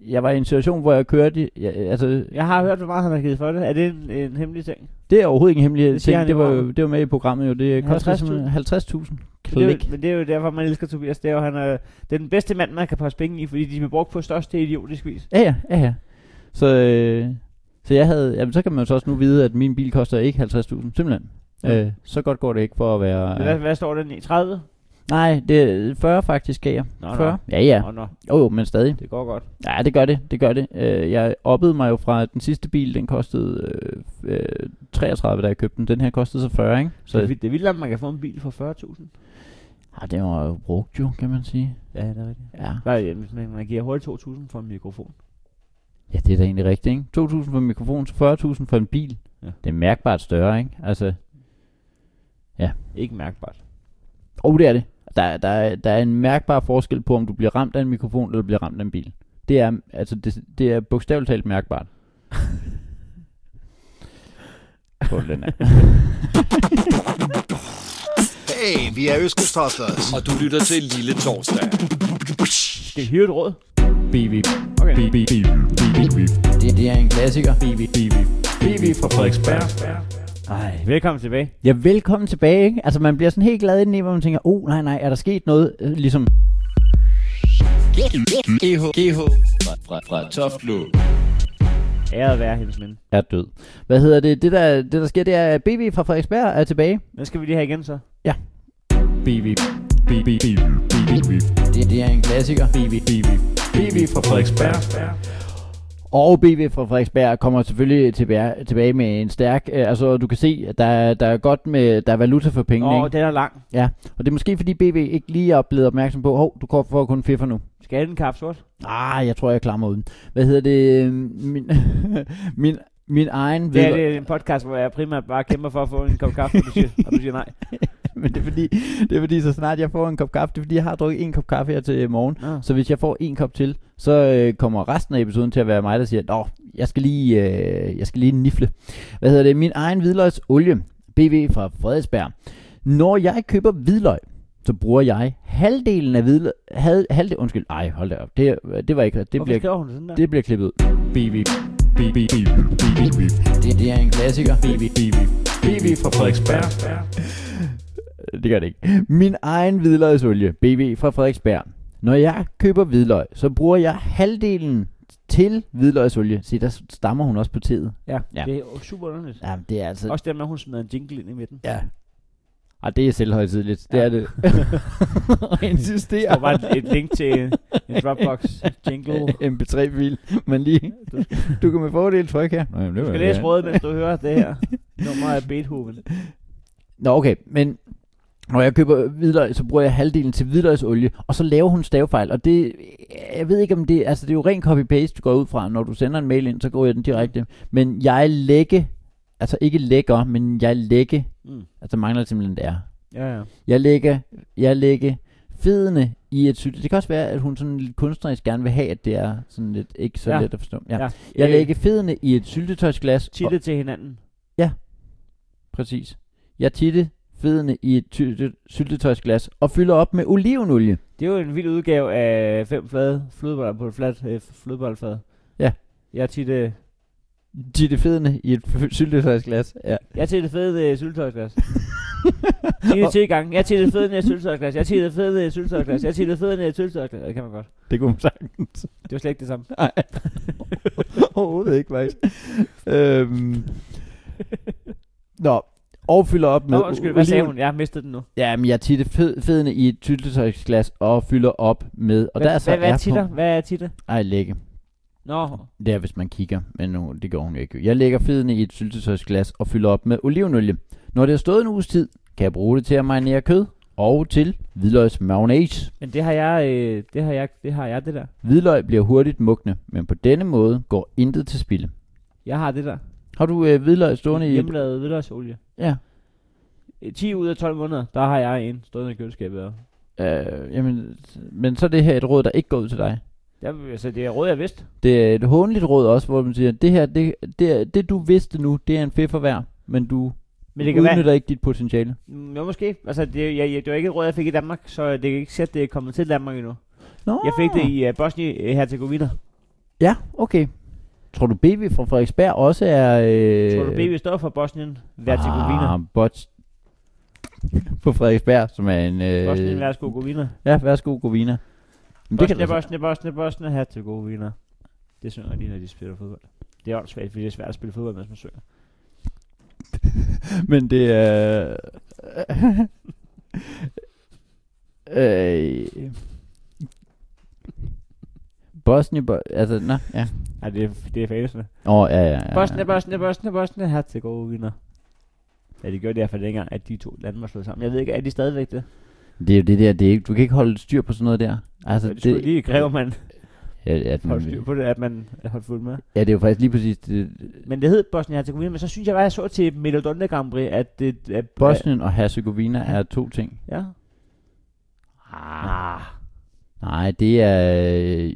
[SPEAKER 2] jeg var i en situation, hvor jeg kørte... Jeg, altså,
[SPEAKER 3] Jeg har hørt, hvor meget han har givet for det. Er det en, en hemmelig ting?
[SPEAKER 2] Det er overhovedet ikke en hemmelig
[SPEAKER 3] Det
[SPEAKER 2] det
[SPEAKER 3] siger
[SPEAKER 2] ting.
[SPEAKER 3] han
[SPEAKER 2] Det
[SPEAKER 3] i
[SPEAKER 2] var,
[SPEAKER 3] programmet.
[SPEAKER 2] jo, det var med i programmet jo. Det koster
[SPEAKER 3] 50.000.
[SPEAKER 2] simpelthen 50.000
[SPEAKER 3] Men det, er
[SPEAKER 2] klik.
[SPEAKER 3] jo, men det er jo derfor, man elsker Tobias. Det er jo, han er, det er den bedste mand, man kan passe penge i, fordi de bliver brugt på største idiotisk vis.
[SPEAKER 2] Ja, ja, ja, ja. Så, øh, så jeg havde, jamen, så kan man jo så også nu vide, at min bil koster ikke 50.000, simpelthen.
[SPEAKER 3] Ja.
[SPEAKER 2] Ja. Øh, så godt går det ikke for at
[SPEAKER 3] Men Hvad,
[SPEAKER 2] være... Øh.
[SPEAKER 3] hvad står den i? 30?
[SPEAKER 2] Nej, det er 40 faktisk, gav jeg.
[SPEAKER 3] Nå, nå.
[SPEAKER 2] 40? Ja, ja.
[SPEAKER 3] Nå, nå,
[SPEAKER 2] Jo, jo, men stadig.
[SPEAKER 3] det går godt.
[SPEAKER 2] Ja, det gør det, det gør det. Øh, jeg oppede mig jo fra, at den sidste bil, den kostede øh, øh, 33, da jeg købte den. Den her kostede så 40, ikke?
[SPEAKER 3] Så
[SPEAKER 2] Så
[SPEAKER 3] det, er vildt- det er vildt, at man kan få en bil for 40.000.
[SPEAKER 2] ja, det var jo brugt jo, kan man sige.
[SPEAKER 3] Ja, det er rigtigt.
[SPEAKER 2] Ja.
[SPEAKER 3] Hvad, ja, hvis man, man giver hurtigt 2.000 for en mikrofon.
[SPEAKER 2] Ja, det er da egentlig rigtigt, ikke? 2.000 for en mikrofon, så 40.000 for en bil.
[SPEAKER 3] Ja.
[SPEAKER 2] Ja. Det er mærkbart større, ikke? Altså,
[SPEAKER 3] Ikke mærkbart.
[SPEAKER 2] oh, det er det. Der, der, er- der er en mærkbar forskel på, om du bliver ramt af en mikrofon, eller bliver ramt af en bil. Det er, altså, det, det er bogstaveligt talt mærkbart. På den her.
[SPEAKER 4] Hey, vi er Øskes Tosters.
[SPEAKER 5] Og du lytter til Lille Torsdag.
[SPEAKER 3] Skal vi hive et råd?
[SPEAKER 1] BB.
[SPEAKER 3] Okay.
[SPEAKER 1] BB. BB.
[SPEAKER 2] det, det er en klassiker.
[SPEAKER 1] BB. BB. BB fra Frederiksberg.
[SPEAKER 3] Ej, velkommen tilbage.
[SPEAKER 2] Ja, velkommen tilbage, ikke? Altså, man bliver sådan helt glad indeni, hvor man tænker, oh, nej, nej, er der sket noget? Øh, Ligesom,
[SPEAKER 5] GH, GH fra, fra, fra Toftlå.
[SPEAKER 3] Æret være hendes minde.
[SPEAKER 2] er død. Hvad hedder det? Det, der, det, der sker, det er, at BB fra Frederiksberg er tilbage.
[SPEAKER 3] Den skal vi lige have igen så.
[SPEAKER 1] BB. BB. BB.
[SPEAKER 2] Det, det er en klassiker.
[SPEAKER 1] BB. BB. BB fra Frederiksberg.
[SPEAKER 2] Og BB fra Frederiksberg kommer selvfølgelig tilbage, tilbage med en stærk, øh, altså du kan se, at der, er- der er godt med, der er valuta for pengene,
[SPEAKER 3] Åh,
[SPEAKER 2] oh, ikke?
[SPEAKER 3] den er lang.
[SPEAKER 2] Ja, og det er måske fordi BB ikke lige er blevet opmærksom på, hov, du går for kun fiffer nu.
[SPEAKER 3] Skal jeg have den kaffe sort?
[SPEAKER 2] Ah, jeg tror, jeg klarer mig uden. Hvad hedder det? øh, Min, min, min egen...
[SPEAKER 3] Det er,
[SPEAKER 2] vedvar-
[SPEAKER 3] det er en podcast, hvor jeg primært bare kæmper for at få en kop kaffe, og du siger, og du siger nej.
[SPEAKER 2] Men det er, fordi, det er fordi, så snart jeg får en kop kaffe, det er fordi, jeg har drukket en kop kaffe her til morgen.
[SPEAKER 3] Nå.
[SPEAKER 2] Så hvis jeg får en kop til, så øh, kommer resten af episoden til at være mig, der siger, Nå, jeg skal lige, øh, jeg skal lige nifle. Hvad hedder det? Min egen hvidløgsolie, BV fra Frederiksberg. Når jeg køber hvidløg, så bruger jeg halvdelen af hvidløg... Hal, halvdelen, undskyld, ej, hold da op. Det, øh, det var ikke... Det
[SPEAKER 3] Hvorfor
[SPEAKER 2] bliver,
[SPEAKER 3] skriver hun sådan der?
[SPEAKER 2] det bliver klippet ud.
[SPEAKER 1] BV BV BV
[SPEAKER 2] Det, det er en klassiker.
[SPEAKER 1] BV BV BV fra Frederiksberg.
[SPEAKER 2] det gør det ikke. Min egen hvidløgsolie, BV fra Frederiksberg. Når jeg køber hvidløg, så bruger jeg halvdelen til hvidløgsolie. Se, der stammer hun også på tiden.
[SPEAKER 3] Ja,
[SPEAKER 2] Ja.
[SPEAKER 3] ja, det er jo super underligt.
[SPEAKER 2] Jamen, det er altså...
[SPEAKER 3] Også det med, at hun smider en jingle ind i midten.
[SPEAKER 2] Ja. Ej, det er selvhøjtidligt. Det
[SPEAKER 3] Ja.
[SPEAKER 2] er det. Og
[SPEAKER 3] Der var bare
[SPEAKER 2] insisterer.
[SPEAKER 3] et, et link til en, en Dropbox jingle.
[SPEAKER 2] MP3-fil. Men lige... Du kan med fordel trykke her. Nå, jamen, det
[SPEAKER 3] Du
[SPEAKER 2] var-
[SPEAKER 3] skal læse
[SPEAKER 2] ja.
[SPEAKER 3] rådet, mens du hører det her. Nummer af Beethoven.
[SPEAKER 2] Nå, okay, men når jeg køber hvidløg, så bruger jeg halvdelen til hvidløgsolie, og så laver hun stavefejl, og det, jeg ved ikke om det, altså det er jo ren copy-paste, du går ud fra, når du sender en mail ind, så går jeg den direkte, men jeg lægge, altså ikke lægger, men jeg lægge,
[SPEAKER 3] Mm.
[SPEAKER 2] altså mangler simpelthen det er.
[SPEAKER 3] Ja, ja.
[SPEAKER 2] Jeg lægger, jeg lægger fedene i et sygt. Det kan også være, at hun sådan lidt kunstnerisk gerne vil have, at det er sådan lidt, ikke så
[SPEAKER 3] Ja.
[SPEAKER 2] let at forstå. Ja.
[SPEAKER 3] Ja.
[SPEAKER 2] Jeg
[SPEAKER 3] Øh,
[SPEAKER 2] lægger fedene i et syltetøjsglas. og-
[SPEAKER 3] Titte til hinanden.
[SPEAKER 2] Præcis. Jeg titte fedene i et ty- syltetøjsglas og fylder op med olivenolie.
[SPEAKER 3] Det er jo en vild udgave af fem flade flødeboller på et flat øh, flødebollefad.
[SPEAKER 2] Ja.
[SPEAKER 3] Jeg er tit, øh,
[SPEAKER 2] Titte fedene i et f- syltetøjsglas. Ja.
[SPEAKER 3] jeg er tit det fede øh, syltøjsglas. Titte til i gang. Jeg er tit det fede syltøjsglas. Jeg er tit det fede syltøjsglas. Jeg er tit det fede syltøjsglas. Det kan man godt.
[SPEAKER 2] Det kunne man sagtens.
[SPEAKER 3] Det var slet ikke det samme.
[SPEAKER 2] Nej. Overhovedet ikke, faktisk. øhm. Nå, og fylder op med
[SPEAKER 3] Nå, undskyld, hvad sagde hun? Jeg har mistet den nu.
[SPEAKER 2] Ja, men jeg titte fed- fedene i et syltetøjsglas og fylder op med... Og
[SPEAKER 3] hvad,
[SPEAKER 2] der er så
[SPEAKER 3] hvad, hvad, er
[SPEAKER 2] på-
[SPEAKER 3] titter? Hvad er titter?
[SPEAKER 2] Ej, lægge.
[SPEAKER 3] Nå,
[SPEAKER 2] Det er, hvis man kigger, men nu, det gør hun jo ikke. Jeg lægger fedene i et syltetøjsglas og fylder op med olivenolie. Når det har stået en uges tid, kan jeg bruge det til at marinere kød og til hvidløgs mayonnaise.
[SPEAKER 3] men det har jeg, øh, det har jeg, det har jeg det der.
[SPEAKER 2] Hvidløg bliver hurtigt mugne, men på denne måde går intet til spilde.
[SPEAKER 3] Jeg har det der.
[SPEAKER 2] Har du øh, hvidløg stående i... et-
[SPEAKER 3] Hjemmelavet hvidløgsolie.
[SPEAKER 2] Ja.
[SPEAKER 3] Øh, 10 ud af 12 måneder, der har jeg en stående i køleskabet. og-
[SPEAKER 2] Øh, jamen, men så er det her et råd, der ikke går ud til dig.
[SPEAKER 3] Jeg, altså, det er råd, jeg vidste.
[SPEAKER 2] Det er et hånligt råd også, hvor man siger, det her, det, det, er- det du vidste nu, det er en fiffer værd, men du
[SPEAKER 3] Men det kan
[SPEAKER 2] udnytter
[SPEAKER 3] være,
[SPEAKER 2] være... ikke dit potentiale.
[SPEAKER 3] Mm, Jo, måske. Altså, det, jeg, jeg, det var ikke et råd, jeg fik i Danmark, så det kan ikke sætte, det er kommet til Danmark endnu.
[SPEAKER 2] Nå.
[SPEAKER 3] Jeg fik det i uh, Bosnien-Herzegovina.
[SPEAKER 2] Ja, okay. Tror du BV fra Frederiksberg også er... Øh...
[SPEAKER 3] Tror du, BB står for Bosnien-Herzegovina?
[SPEAKER 2] Ah, bots. på Frederiksberg, som er en... Øh...
[SPEAKER 3] Bosnien-Herzegovina.
[SPEAKER 2] Ja, værsgo, Govina. Men det kan altså-
[SPEAKER 3] Bosnien,
[SPEAKER 2] Bosnia,
[SPEAKER 3] Bosnien, Bosnien, Bosnien, Herzegovina. Det synger de, når de spiller fodbold. Det er også svært, fordi det er svært at spille fodbold, mens man synger.
[SPEAKER 2] Men det er... øh... Bosnien, bo... altså, nå, ja.
[SPEAKER 3] Nej, det er, det er fællesene.
[SPEAKER 2] Åh, oh, ja, ja, ja.
[SPEAKER 3] Bosnien, Bosnien, Bosnien, Bosnien, Herzegovina. Ja, de gjorde det i hvert fald dengang, at de to lande var slået sammen. Jeg ved ikke, er de stadigvæk det?
[SPEAKER 2] Det er jo det der, det er ikke, du kan ikke holde styr på sådan noget der. Altså,
[SPEAKER 3] Så det skulle lige kræve, at man
[SPEAKER 2] ja, ja, den-
[SPEAKER 3] holdt styr på det, at man holdt fuld med.
[SPEAKER 2] ja, det er jo faktisk lige præcis det,
[SPEAKER 3] Men det hed Bosnien-Herzegovina, men så synes jeg bare, jeg så til Melodonda Grand Prix, at det... At,
[SPEAKER 2] Bosnien og Herzegovina er to ting.
[SPEAKER 3] Ja.
[SPEAKER 2] Ah. Nej, det er øh,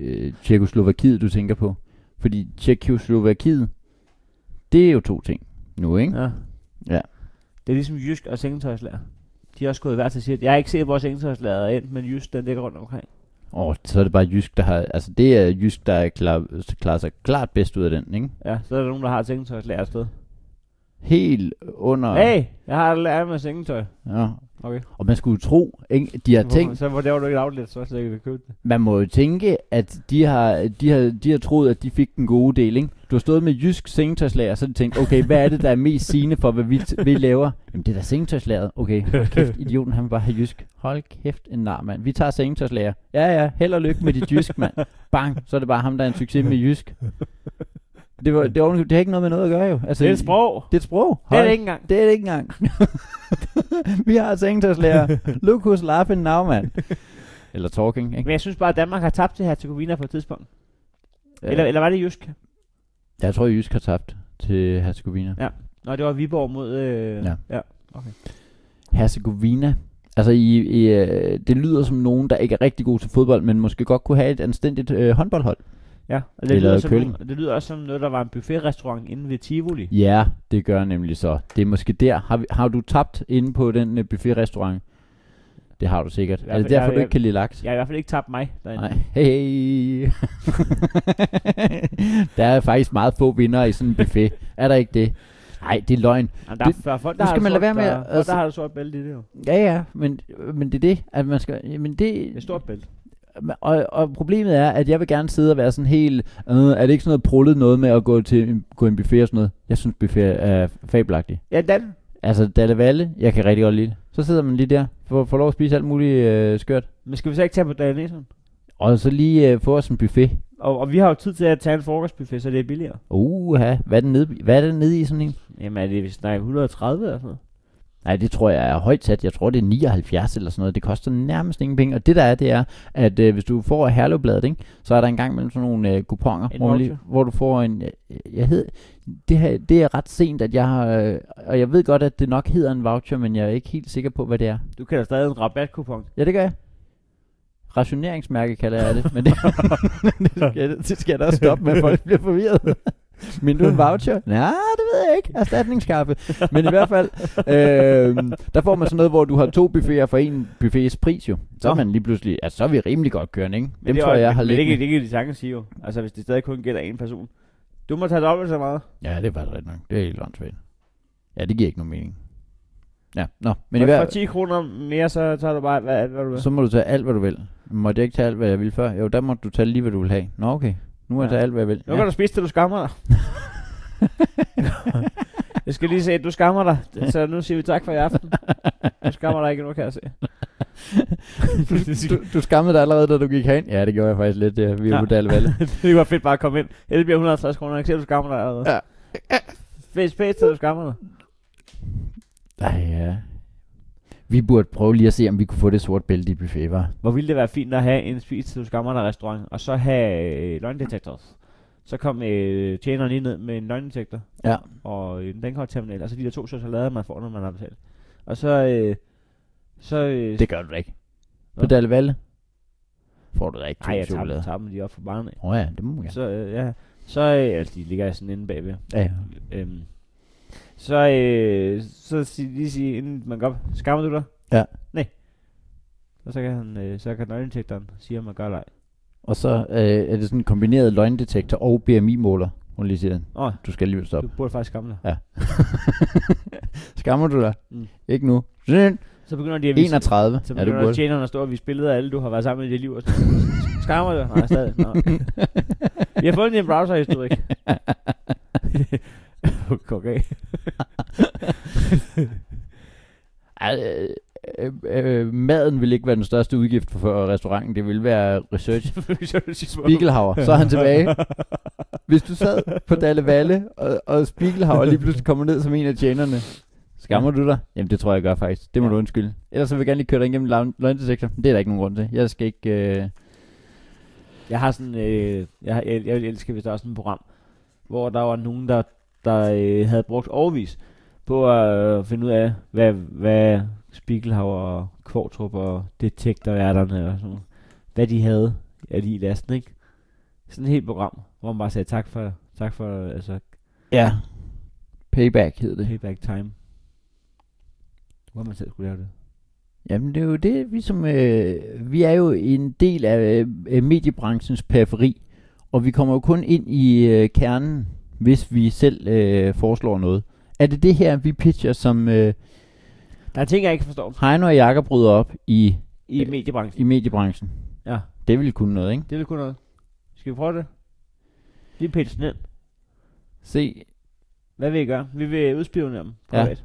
[SPEAKER 2] øh, Tjekoslovakiet, du tænker på. Fordi Tjekoslovakiet, det er jo to ting nu, ikke?
[SPEAKER 3] ja.
[SPEAKER 2] Ja.
[SPEAKER 3] Det er ligesom Jysk og Sengetøjslærer. De har også gået hver til sit. Jeg har ikke set, hvor Sengetøjslærer er ind, men Jysk, den ligger rundt omkring.
[SPEAKER 2] Åh, oh, så er det bare Jysk, der har... Altså, det er Jysk, der er klar, klarer sig klart bedst ud af den, ikke?
[SPEAKER 3] Ja, så er der nogen, der har et sengetøjslærer et sted.
[SPEAKER 2] Helt under...
[SPEAKER 3] Hey, jeg har lært med sengetøj.
[SPEAKER 2] Ja.
[SPEAKER 3] Okay.
[SPEAKER 2] Og man skulle jo tro, ikke? De har tænkt...
[SPEAKER 3] Så hvor der var du ikke et outlet, så slet ikke vil købe det.
[SPEAKER 2] Man må jo tænke, at de har, de har, de har troet, at de fik den gode del, ikke? Du har stået med jysk sengetøjslager, og så har de tænkt, okay, hvad er det, der er mest sigende for, hvad vi, t- vi laver? Jamen, det er da sengetøjslageret. Okay, hold kæft, idioten, han vil bare have jysk. Hold kæft, en nar, mand. Vi tager sengetøjslager. Ja, ja, held og lykke med dit jysk, mand. Bang, så er det bare ham, der er en succes med jysk. Det, var, det, var, det har ikke noget med noget at gøre, jo. Altså,
[SPEAKER 3] Det er et sprog.
[SPEAKER 2] Det er et sprog.
[SPEAKER 3] Det er
[SPEAKER 2] Hold
[SPEAKER 3] det ikke engang.
[SPEAKER 2] det er det ikke engang. vi har sengetøjslærer. Look who's laughing now, man. Eller talking,
[SPEAKER 3] Men
[SPEAKER 2] ikke?
[SPEAKER 3] jeg synes bare, at Danmark har tabt til Herzegovina på et tidspunkt. Ja. Eller,
[SPEAKER 2] Ja.
[SPEAKER 3] eller var det Jysk?
[SPEAKER 2] Jeg tror, Jysk har tabt til Herzegovina.
[SPEAKER 3] Nå, det var Viborg mod... Øh,
[SPEAKER 2] Ja.
[SPEAKER 3] ja.
[SPEAKER 2] Herzegovina. Altså, i, i, øh, det lyder som nogen, der ikke er rigtig god til fodbold, men måske godt kunne have et anstændigt øh, håndboldhold.
[SPEAKER 3] Ja, og
[SPEAKER 2] Det
[SPEAKER 3] det, lyder
[SPEAKER 2] lavede
[SPEAKER 3] som,
[SPEAKER 2] kylling.
[SPEAKER 3] det lyder også som noget, der var en buffetrestaurant inde ved Tivoli.
[SPEAKER 2] Ja, det gør nemlig så. Det er måske der. Har, vi, har du tabt inde på den øh, buffetrestaurant? Det har du sikkert.
[SPEAKER 3] hvert
[SPEAKER 2] Er det
[SPEAKER 3] fald-
[SPEAKER 2] derfor,
[SPEAKER 3] jeg-
[SPEAKER 2] du ikke
[SPEAKER 3] jeg-
[SPEAKER 2] kan lide laks?
[SPEAKER 3] Jeg har i hvert fald ikke tabt mig derinde.
[SPEAKER 2] Nej. Hey. der er faktisk meget få vinder i sådan en buffet. Er der ikke det? Nej, det er løgn.
[SPEAKER 3] Jamen, der,
[SPEAKER 2] Det-
[SPEAKER 3] det, der er folk,
[SPEAKER 2] nu
[SPEAKER 3] der har
[SPEAKER 2] skal
[SPEAKER 3] det
[SPEAKER 2] man lade
[SPEAKER 3] sort,
[SPEAKER 2] være med
[SPEAKER 3] der,
[SPEAKER 2] at-
[SPEAKER 3] folk,
[SPEAKER 2] altså-
[SPEAKER 3] der har du sort bælte i det jo.
[SPEAKER 2] Ja, ja, men, men det er det, at man skal... Jamen det,
[SPEAKER 3] Det er stort bælte.
[SPEAKER 2] og, og problemet er, at jeg vil gerne sidde og være sådan helt... Øh, er det ikke sådan noget prullet noget med at gå til en, gå i en buffet og sådan noget? Jeg synes, buffet er fabelagtigt.
[SPEAKER 3] Ja, Dan.
[SPEAKER 2] Altså, Dalle Valle, jeg kan rigtig godt lide det. Så sidder man lige der, får, får lov at spise alt muligt øh, skørt.
[SPEAKER 3] Men skal vi så ikke tage på Dalanesen?
[SPEAKER 2] Og så lige øh, få os en buffet.
[SPEAKER 3] Og, og vi har jo tid til at tage en frokostbuffet, så det er billigere.
[SPEAKER 2] Uha, hvad er det nede, hvad er det nede i sådan en?
[SPEAKER 3] Jamen er det hvis der er 130 eller sådan noget?
[SPEAKER 2] Nej, det tror jeg er højt sat. Jeg tror, det er 79 eller sådan noget. Det koster nærmest ingen penge. Og det der er, det er, at øh, hvis du får Herlevbladet, ikke, så er der engang mellem sådan nogle øh, kuponer,
[SPEAKER 3] En
[SPEAKER 2] hvor, man lige,
[SPEAKER 3] voucher.
[SPEAKER 2] hvor du får en... Øh, jeg hed, det, her, det er ret sent, at jeg har... Øh, og jeg ved godt, at det nok hedder en voucher, men jeg er ikke helt sikker på, hvad det er.
[SPEAKER 3] Du kalder stadig en rabatkupon.
[SPEAKER 2] Ja, det gør jeg. Rationeringsmærke kalder jeg det, men det, det, skal, det skal jeg da også stoppe med, at folk bliver forvirret. Men du en voucher? Nej, det ved jeg ikke. Erstatningskaffe. Men i hvert fald, øh, der får man sådan noget, hvor du har to buffeter for en buffets pris jo. Så er
[SPEAKER 3] Nå.
[SPEAKER 2] man lige pludselig, altså så er vi rimelig godt kørende, ikke? Dem
[SPEAKER 3] det er
[SPEAKER 2] tror
[SPEAKER 3] også-
[SPEAKER 2] jeg har
[SPEAKER 3] men det,
[SPEAKER 2] lidt.
[SPEAKER 3] kan, det kan de sagtens sige jo. Altså hvis det stadig kun gælder en person. Du må tage dobbelt så meget.
[SPEAKER 2] Ja, det var ret nok. Det er helt åndssvagt. Ja, det giver ikke nogen mening. Ja, nå. Men
[SPEAKER 3] Men
[SPEAKER 2] i
[SPEAKER 3] i for
[SPEAKER 2] hvert
[SPEAKER 3] 10 kroner mere, så tager du bare hvad, hvad du vil.
[SPEAKER 2] så må du tage alt, hvad du vil. Måtte jeg ikke tage alt, hvad jeg ville før? Jo, der må du tage lige, hvad du vil have. Nå, okay. Nu må jeg
[SPEAKER 3] Ja.
[SPEAKER 2] tage alt, hvad jeg vil.
[SPEAKER 3] Nu kan du spise det, du skammer dig. jeg skal lige se, at du skammer dig. Så nu siger vi tak for i aften. Du skammer dig ikke nu, kan jeg se.
[SPEAKER 2] du, du skammede dig allerede, da du gik herind? Ja, det gjorde jeg faktisk lidt. Ja. Vi er
[SPEAKER 3] Ja.
[SPEAKER 2] på Dalle Valle.
[SPEAKER 3] det var fedt bare at komme ind. Ellers bliver 150 kroner. Jeg kan se, at du skammer dig allerede.
[SPEAKER 2] Ja.
[SPEAKER 3] Fæs, fæs, til du skammer dig.
[SPEAKER 2] Ej, ja. Vi burde prøve lige at se, om vi kunne få det sorte bælte i buffet, var.
[SPEAKER 3] Hvor ville det være fint at have en spis til du skammer dig restaurant, og så have øh, løgndetektors. Så kom øh, tjeneren lige ned med en løgndetektor.
[SPEAKER 2] Ja.
[SPEAKER 3] Og en dankortterminal. Altså de der to salader, man får, når man har betalt. Og så... Øh, så øh,
[SPEAKER 2] Det gør du da ikke. På
[SPEAKER 3] Nå.
[SPEAKER 2] Dalle Valle får du da ikke to
[SPEAKER 3] Ej, jeg tager, dem-
[SPEAKER 2] chokolade.
[SPEAKER 3] tager dem lige op for barnet.
[SPEAKER 2] Åh oh, ja, det må
[SPEAKER 3] Ja.
[SPEAKER 2] jeg.
[SPEAKER 3] Så, øh, ja. Så, øh, altså, de ligger sådan inde bagved.
[SPEAKER 2] Ja, ja.
[SPEAKER 3] Øhm. Så, øh, så sig, lige sige, inden man går op, skammer du dig?
[SPEAKER 2] Ja.
[SPEAKER 3] Nej. Og så kan, han, øh, så kan nøgleindtægteren sige, om man gør eller ej.
[SPEAKER 2] Og så øh, er det sådan en kombineret løgndetektor og BMI-måler. Hun lige siger,
[SPEAKER 3] Åh,
[SPEAKER 2] du skal alligevel stoppe.
[SPEAKER 3] du burde faktisk skamme dig.
[SPEAKER 2] Skammer du dig? Mm.
[SPEAKER 3] Mm.
[SPEAKER 2] Ikke nu. Sådan.
[SPEAKER 3] Så begynder de at vise,
[SPEAKER 2] 31.
[SPEAKER 3] så
[SPEAKER 2] Ja, du
[SPEAKER 3] begynder ja,
[SPEAKER 2] burde.
[SPEAKER 3] tjeneren at stå og vise billeder af alle, du har været sammen med i dit liv. Og sådan noget. skammer du dig? Nej, stadig. Nå. Vi har fundet din browserhistorik. okay.
[SPEAKER 2] Ej, øh, øh, øh, maden vil ikke være den største udgift for, for restauranten. Det vil være research. Spiegelhauer, så er han tilbage. Hvis du sad på Dalle Valle, og, og Spiegelhauer lige pludselig kommer ned som en af tjenerne, skammer du dig? Jamen det tror jeg, jeg gør faktisk. Det må du undskylde. Ellers så vil jeg gerne lige køre dig igennem løgn- løgndetektor. Men Det er der ikke nogen grund til. Jeg skal ikke... Øh...
[SPEAKER 3] Jeg har sådan, øh, jeg, jeg, jeg ville elske, hvis der var sådan et program, hvor der var nogen, der, der øh, havde brugt overvis på at øh, finde ud af, hvad, hvad Spiegelhauer og Kvartrup og detektorværterne og sådan noget, hvad de havde af de i lasten, ikke? Sådan et helt program, hvor man bare sagde tak for, tak for altså,
[SPEAKER 2] Ja. Payback hedder det.
[SPEAKER 3] payback time. Hvor man selv skulle lave det.
[SPEAKER 2] Jamen det er jo det, vi som... Øh, vi er jo en del af øh, mediebranchens periferi, og vi kommer jo kun ind i øh, kernen, hvis vi selv øh, foreslår noget. Er det det her, vi pitcher, som øh,
[SPEAKER 3] Der er ting, jeg ikke forstår
[SPEAKER 2] Heino og Jakob rydder op i,
[SPEAKER 3] i
[SPEAKER 2] Øh,
[SPEAKER 3] mediebranchen.
[SPEAKER 2] i mediebranchen?
[SPEAKER 3] Ja.
[SPEAKER 2] Det ville kunne noget, ikke?
[SPEAKER 3] Det ville kunne noget. Skal vi prøve det? Lige pitch ned.
[SPEAKER 2] Se.
[SPEAKER 3] Hvad vil I gøre? Vi vil udspionere dem
[SPEAKER 2] Ja.
[SPEAKER 3] privat.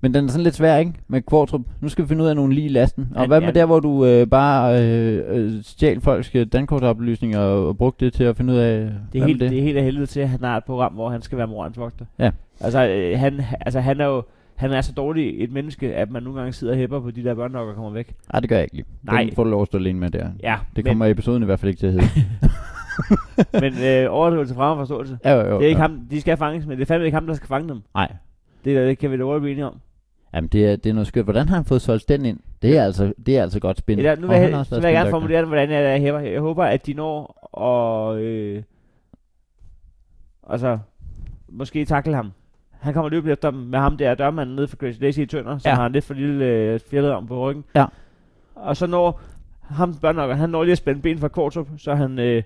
[SPEAKER 2] Men den er sådan lidt svær, ikke? Med Kvartrup. Nu skal vi finde ud af nogle lige i lasten. Og
[SPEAKER 3] Ja,
[SPEAKER 2] hvad med
[SPEAKER 3] ja.
[SPEAKER 2] der, hvor du øh, bare øh, øh, stjal folks øh, dankortoplysninger og, og brugte det til at finde ud af...
[SPEAKER 3] Det er, helt, det? det er helt af helvede til, at han har et program, hvor han skal være morens vogter.
[SPEAKER 2] Ja.
[SPEAKER 3] Altså, øh, han, altså, han er jo han er så dårlig et menneske, at man nogle gange sidder og hæpper på de der børnlokker og kommer væk.
[SPEAKER 2] Nej, det gør jeg ikke lige. Nej.
[SPEAKER 3] Nej.
[SPEAKER 2] Den får du lov at stå alene med der.
[SPEAKER 3] Ja,
[SPEAKER 2] Det
[SPEAKER 3] men,
[SPEAKER 2] kommer episoden i hvert fald ikke til at hedde.
[SPEAKER 3] men øh, overdrivelse frem forståelse.
[SPEAKER 2] ja, jo, jo,
[SPEAKER 3] Det er ikke
[SPEAKER 2] jo.
[SPEAKER 3] ham, de skal fanges, men det er fandme ikke ham, der skal fange dem.
[SPEAKER 2] Nej.
[SPEAKER 3] Det, er- det kan vi da hurtigt blive enige om.
[SPEAKER 2] Jamen, det er, det er noget skørt. Hvordan har han fået solgt den ind? Det er altså, det er altså godt spin.
[SPEAKER 3] Eller, nu
[SPEAKER 2] Og
[SPEAKER 3] vil
[SPEAKER 2] han har
[SPEAKER 3] jeg,
[SPEAKER 2] også
[SPEAKER 3] nu
[SPEAKER 2] været
[SPEAKER 3] vil jeg gerne
[SPEAKER 2] spindoktor.
[SPEAKER 3] formulere det, hvordan jeg, jeg, hæver. jeg håber, at de når og... Øh, altså, måske takle ham. Han kommer løbende efter dem med ham der dørmanden nede for Crazy Daisy i Tønder, som
[SPEAKER 2] Ja.
[SPEAKER 3] ja. har en lidt for lille øh, fjellet om på ryggen.
[SPEAKER 2] Ja.
[SPEAKER 3] Og så når ham børnokker, han når lige at spænde ben fra Kortrup, så han, øh,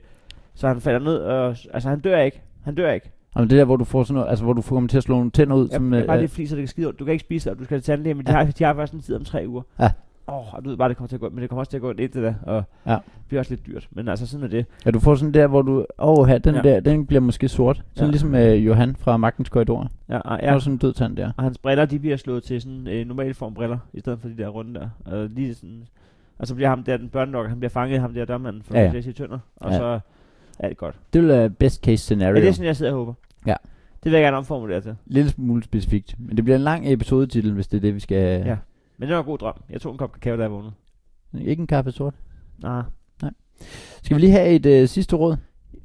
[SPEAKER 3] så han falder ned, og altså han dør ikke. Han dør ikke.
[SPEAKER 2] Jamen, det der, hvor du får sådan noget, altså, hvor du får kommer til at slå nogle tænder ud,
[SPEAKER 3] Ja,
[SPEAKER 2] som...
[SPEAKER 3] det er bare
[SPEAKER 2] øh,
[SPEAKER 3] det fliser, det kan skide ondt. Du kan ikke spise det, og du skal til tandlæge, men de,
[SPEAKER 2] Ja.
[SPEAKER 3] har, de har først en tid om tre uger.
[SPEAKER 2] Ja.
[SPEAKER 3] Åh, oh, du ved bare, det kommer til at gå ondt, men det kommer også til at gå ondt indtil da, og
[SPEAKER 2] Ja.
[SPEAKER 3] det bliver også lidt dyrt. Men altså, sådan er det.
[SPEAKER 2] Ja, du får sådan der, hvor du... Åh, oh, den
[SPEAKER 3] Ja.
[SPEAKER 2] der, den bliver måske sort. Sådan
[SPEAKER 3] Ja.
[SPEAKER 2] ligesom øh, Johan fra Magtens Korridor. Ja.
[SPEAKER 3] Ja, og,
[SPEAKER 2] Der
[SPEAKER 3] ja.
[SPEAKER 2] var sådan en død tand der.
[SPEAKER 3] og hans briller, de bliver slået til sådan øh, normal form briller, i stedet for de der runde der. Og, lige sådan, og så bliver ham der, den børnelokker, han bliver fanget af ham der dørmanden fra
[SPEAKER 2] Ja,
[SPEAKER 3] ja,
[SPEAKER 2] ja.
[SPEAKER 3] ja. Jesse Tønder, og
[SPEAKER 2] Ja.
[SPEAKER 3] ja. så er det godt.
[SPEAKER 2] Det vil være best case
[SPEAKER 3] Ja,
[SPEAKER 2] scenario.
[SPEAKER 3] det er sådan, jeg sidder og håber.
[SPEAKER 2] Ja.
[SPEAKER 3] Det vil jeg gerne omformulere til.
[SPEAKER 2] Lille smule specifikt. Men det bliver en lang episodetitel, hvis det er det, vi skal...
[SPEAKER 3] Ja. Men det var en god drøm. Jeg tog en kop kakao, da jeg vågnede.
[SPEAKER 2] Ikke en kaffe sort.
[SPEAKER 3] Nej.
[SPEAKER 2] Skal vi lige have et øh, sidste råd?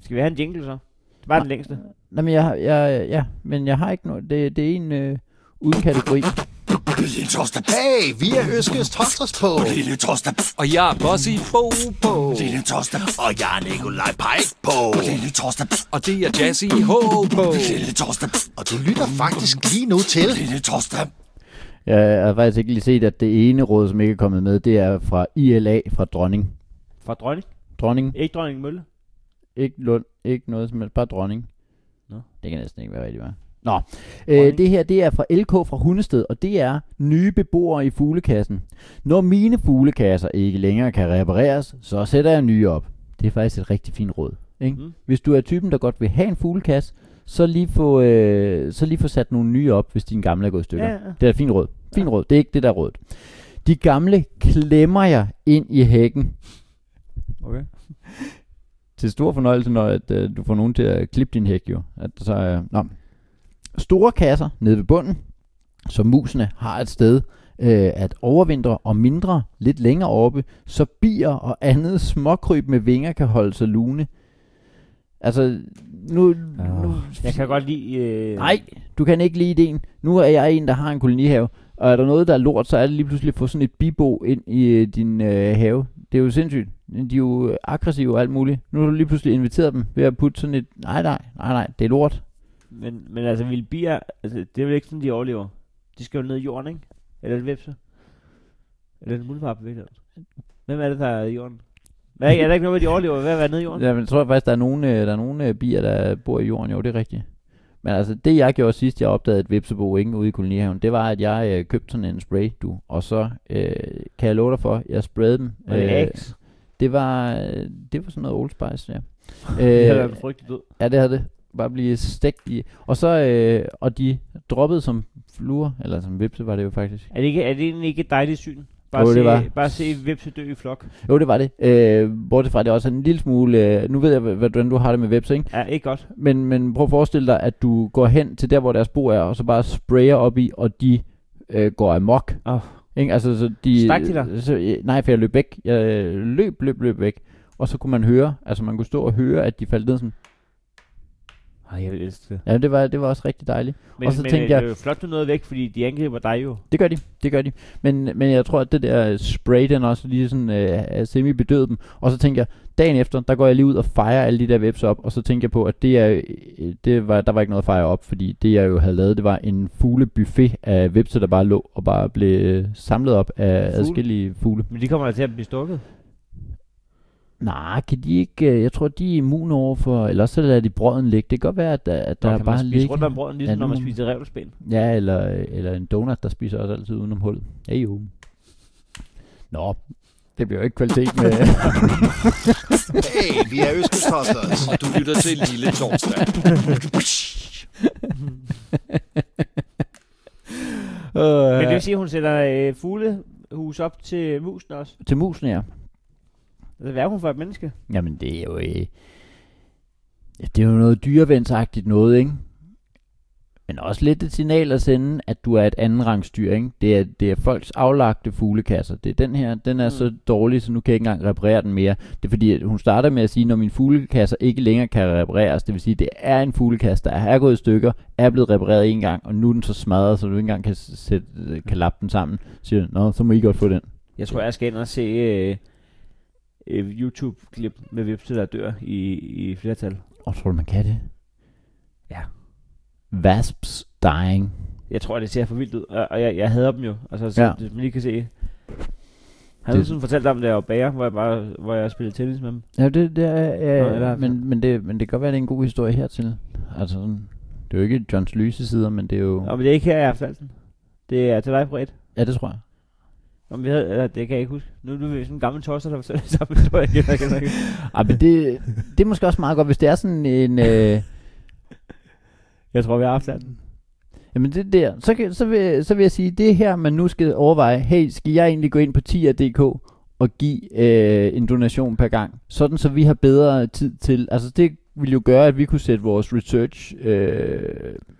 [SPEAKER 3] Skal vi have en jingle så? Det var
[SPEAKER 2] Nej.
[SPEAKER 3] den længste.
[SPEAKER 2] Nej, men jeg, har- jeg, ja, men jeg har ikke noget. Det, det er en øh, uden kategori.
[SPEAKER 6] Lille torsdag.
[SPEAKER 4] Hey, vi er Øskes Torsdags på.
[SPEAKER 6] Lille torsdag.
[SPEAKER 5] Og jeg er boss i Bo på.
[SPEAKER 6] Lille torsdag.
[SPEAKER 4] Og jeg er Nikolaj Pajk på.
[SPEAKER 6] Lille torsdag.
[SPEAKER 5] Og det er jazz i H på.
[SPEAKER 6] Lille torsdag.
[SPEAKER 4] Og du lytter faktisk lige nu til
[SPEAKER 6] Lille torsdag.
[SPEAKER 2] Jeg har faktisk ikke lige set, at det ene råd, som ikke er kommet med, det er fra ILA fra Dronning.
[SPEAKER 3] Fra dronning.
[SPEAKER 2] Dronning,
[SPEAKER 3] Ikke dronning Mølle.
[SPEAKER 2] ikke Lund, ikke noget som helst, bare Dronning.
[SPEAKER 3] Nå.
[SPEAKER 2] Det kan næsten ikke være rigtigt, hva'? Nå, øh, det her det er fra LK fra Hundested, og det er nye beboere i fuglekassen. Når mine fuglekasser ikke længere kan repareres, så sætter jeg nye op. Det er faktisk et rigtig fint råd. Ikke? Mm.
[SPEAKER 3] Mm.
[SPEAKER 2] Hvis du er typen, der godt vil have en fuglekasse, så lige få, øh, så lige få sat nogle nye op, hvis din gamle er gået i stykker.
[SPEAKER 3] Ja, ja.
[SPEAKER 2] Det er et fint råd. Fint råd. Det er ikke det, der er rådet. De gamle klemmer jeg ind i hækken.
[SPEAKER 3] Okay.
[SPEAKER 2] Til stor fornøjelse, når at, øh, du får nogen til at klippe din hæk jo. At, så, øh, nå. Store kasser nede ved bunden, så musene har et sted øh, at overvintre, og mindre, lidt længere oppe, så bier og andet småkryb med vinger kan holde sig lune. Altså, nu... nu
[SPEAKER 3] Jeg kan godt lide... Øh,
[SPEAKER 2] Nej, du kan ikke lide ideen. Nu er jeg en, der har en kolonihave, og er der noget, der er lort, så er det lige pludselig at få sådan et bibo ind i øh, din øh, have. Det er jo sindssygt. De er jo øh, aggressive og alt muligt. Nu har du lige pludselig inviteret dem ved at putte sådan et, nej, nej, nej, nej, det er lort.
[SPEAKER 3] Men, men altså, vil bier... Altså, det er vel ikke sådan, de overlever. De skal jo ned i jorden, ikke? Eller en vepse. Eller en muldvarp, ved jeg. Hvem er det, der er i jorden? Hvad, er der ikke noget, med, de overlever ved at være nede i jorden?
[SPEAKER 2] Ja, men jeg tror faktisk, der er nogle, øh, der er nogle øh, bier, der bor i jorden. Jo, det er rigtigt. Men altså, det jeg gjorde sidst, jeg opdagede et vipsebo ikke, ude i kolonihaven, det var, at jeg øh, købte sådan en spray, du. Og så øh, kan jeg love dig for, jeg sprayede dem. øh,
[SPEAKER 3] Og det er Axe.
[SPEAKER 2] det var, øh, det var sådan noget Old Spice, ja.
[SPEAKER 3] Det har
[SPEAKER 2] Øh,
[SPEAKER 3] været en frygtelig død.
[SPEAKER 2] Ja, det havde det. Bare blive stegt i. Og så, øh, og de droppede som fluer, eller som vipse var det jo faktisk.
[SPEAKER 3] Er det, ikke, er det egentlig ikke et dejligt syn? Bare,
[SPEAKER 2] Jo, det
[SPEAKER 3] se,
[SPEAKER 2] var.
[SPEAKER 3] bare se vepse dø i flok.
[SPEAKER 2] Jo, det var det. Øh, bortset fra, at det også er en lille smule, øh, nu ved jeg, hva- hvordan du har det med vipse, ikke?
[SPEAKER 3] Ja, ikke godt.
[SPEAKER 2] Men, men prøv at forestille dig, at du går hen til der, hvor deres bo er, og så bare sprayer op i, og de øh, går amok.
[SPEAKER 3] Åh.
[SPEAKER 2] Ikke? Altså, så de,
[SPEAKER 3] Stak de dig?
[SPEAKER 2] Så, øh, nej, for jeg løb væk. Jeg øh, løb, løb, løb væk. Og så kunne man høre, altså man kunne stå og høre, at de faldt ned sådan.
[SPEAKER 3] Ej, jeg vil elske det.
[SPEAKER 2] Ja, det var, det var også rigtig dejligt.
[SPEAKER 3] Men,
[SPEAKER 2] Og så
[SPEAKER 3] men,
[SPEAKER 2] tænkte
[SPEAKER 3] øh,
[SPEAKER 2] jeg-
[SPEAKER 3] det er jo flot, du nåede væk, fordi de angriber dig jo.
[SPEAKER 2] Det gør de, det gør de. Men, men jeg tror, at det der spray, den også lige sådan øh, semi bedøvede dem. Og så tænker jeg, dagen efter, der går jeg lige ud og fejrer alle de der webs op. Og så tænker jeg på, at det er, øh, det var, der var ikke noget at fejre op, fordi det jeg jo havde lavet, det var en fuglebuffet af vipser, der bare lå og bare blev øh, samlet op af
[SPEAKER 3] Fugle?
[SPEAKER 2] adskillige fugle.
[SPEAKER 3] Men de kommer da til at blive stukket.
[SPEAKER 2] Nej, kan de ikke, øh, jeg tror, de er immune overfor, eller også så lader de brøden ligge. Det kan godt være, at, der- at der
[SPEAKER 3] Der
[SPEAKER 2] er
[SPEAKER 3] kan
[SPEAKER 2] bare
[SPEAKER 3] man spise
[SPEAKER 2] ligge.
[SPEAKER 3] rundt om brøden, ligesom
[SPEAKER 2] Ja,
[SPEAKER 3] når man
[SPEAKER 2] nu-
[SPEAKER 3] spiser revspæn.
[SPEAKER 2] Ja, eller, eller en donut, der spiser også altid udenom hullet. Ja, jo. Nå, det bliver jo ikke kvalitet med...
[SPEAKER 4] Hey, vi er Øskes Torsdags.
[SPEAKER 5] Og du lytter til Lille Torsdag.
[SPEAKER 3] Men det
[SPEAKER 2] øh,
[SPEAKER 3] vil sige, at hun sætter øh, fuglehus op til musen også.
[SPEAKER 2] til musen her.
[SPEAKER 3] Altså, hvad er hun for et menneske?
[SPEAKER 2] Jamen, det er jo... Øh, ja, det er jo noget dyreventsagtigt noget, ikke? Men men også lidt et signal at sende, at du er et anden rangsdyr, ikke? Det er, det er folks aflagte fuglekasser. Det er den her, den er mm. så dårlig, så nu kan jeg ikke engang reparere den mere. Det er fordi, at hun starter med at sige, når mine fuglekasser ikke længere kan repareres, det vil sige, det er en fuglekasse, der er gået i stykker, er blevet repareret en gang, og nu er den så smadret, så du ikke engang kan, s- sætte, øh, kan lappe den sammen. Så siger, hun, nå, så må I godt få den.
[SPEAKER 3] Jeg tror, jeg skal ind og se øh, øh, YouTube-klip med vipse, der dør i, i flertal.
[SPEAKER 2] Og tror du, man kan det?
[SPEAKER 3] Ja.
[SPEAKER 2] Wasps dying.
[SPEAKER 3] Jeg tror, det ser for vildt ud, og, og jeg, jeg hader dem jo. Altså, så,
[SPEAKER 2] Ja.
[SPEAKER 3] ja. man lige kan se. Har
[SPEAKER 2] Det-
[SPEAKER 3] du sådan fortalt dig om, da jeg var bager, hvor jeg, bare, hvor jeg spillede tennis med dem?
[SPEAKER 2] Ja, det, det er,
[SPEAKER 3] Nå, i
[SPEAKER 2] ja, ja,
[SPEAKER 3] hvert fald.
[SPEAKER 2] men, men, det, men det kan godt være, at det er en god historie hertil. Altså, sådan, det er jo ikke Johns lyse sider, men det er jo...
[SPEAKER 3] Nå, men det er ikke her, jeg har fortalt den. Det er til dig, Britt.
[SPEAKER 2] Ja, det tror jeg.
[SPEAKER 3] Nå, men vi havde, eller, det kan jeg ikke huske. Nu, nu er vi sådan en gammel tosser, der fortæller samme historie igen og igen og igen.
[SPEAKER 2] Ej, men det, det er måske også meget godt, hvis det er sådan en... Øh,
[SPEAKER 3] Jeg tror, vi har haft den.
[SPEAKER 2] jamen, det der. Så, kan, så, vil, så vil jeg sige, det er her, man nu skal overveje, hey, skal jeg egentlig gå ind på 10.dk og give øh, en donation per gang? Sådan, så vi har bedre tid til... Altså, det vil jo gøre, at vi kunne sætte vores research øh,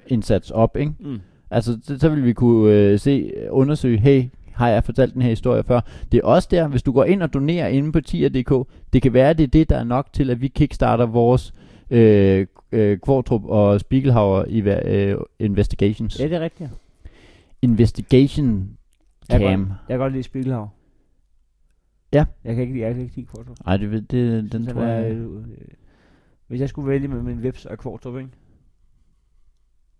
[SPEAKER 2] indsats op, ikke?
[SPEAKER 3] Mm.
[SPEAKER 2] Altså, så, så vil vi kunne øh, se, undersøge, hey, har jeg fortalt den her historie før? Det er også der, hvis du går ind og donerer inde på tier.dk, det kan være, det er det, der er nok til, at vi kickstarter vores øh, øh, Kvartrup og Spiegelhauer i, øh, investigations.
[SPEAKER 3] Ja, det er rigtigt. ja.
[SPEAKER 2] Investigation
[SPEAKER 3] Jeg kan,
[SPEAKER 2] cam.
[SPEAKER 3] godt, jeg kan godt lide Spiegelhav.
[SPEAKER 2] Ja.
[SPEAKER 3] Jeg kan ikke lide, jeg kan ikke lide Kvartrup.
[SPEAKER 2] Ej, det, ved- det, den
[SPEAKER 3] Den
[SPEAKER 2] tror
[SPEAKER 3] er,
[SPEAKER 2] jeg...
[SPEAKER 3] øh, øh, hvis jeg skulle vælge mellem en vips og Kvartrup, ikke?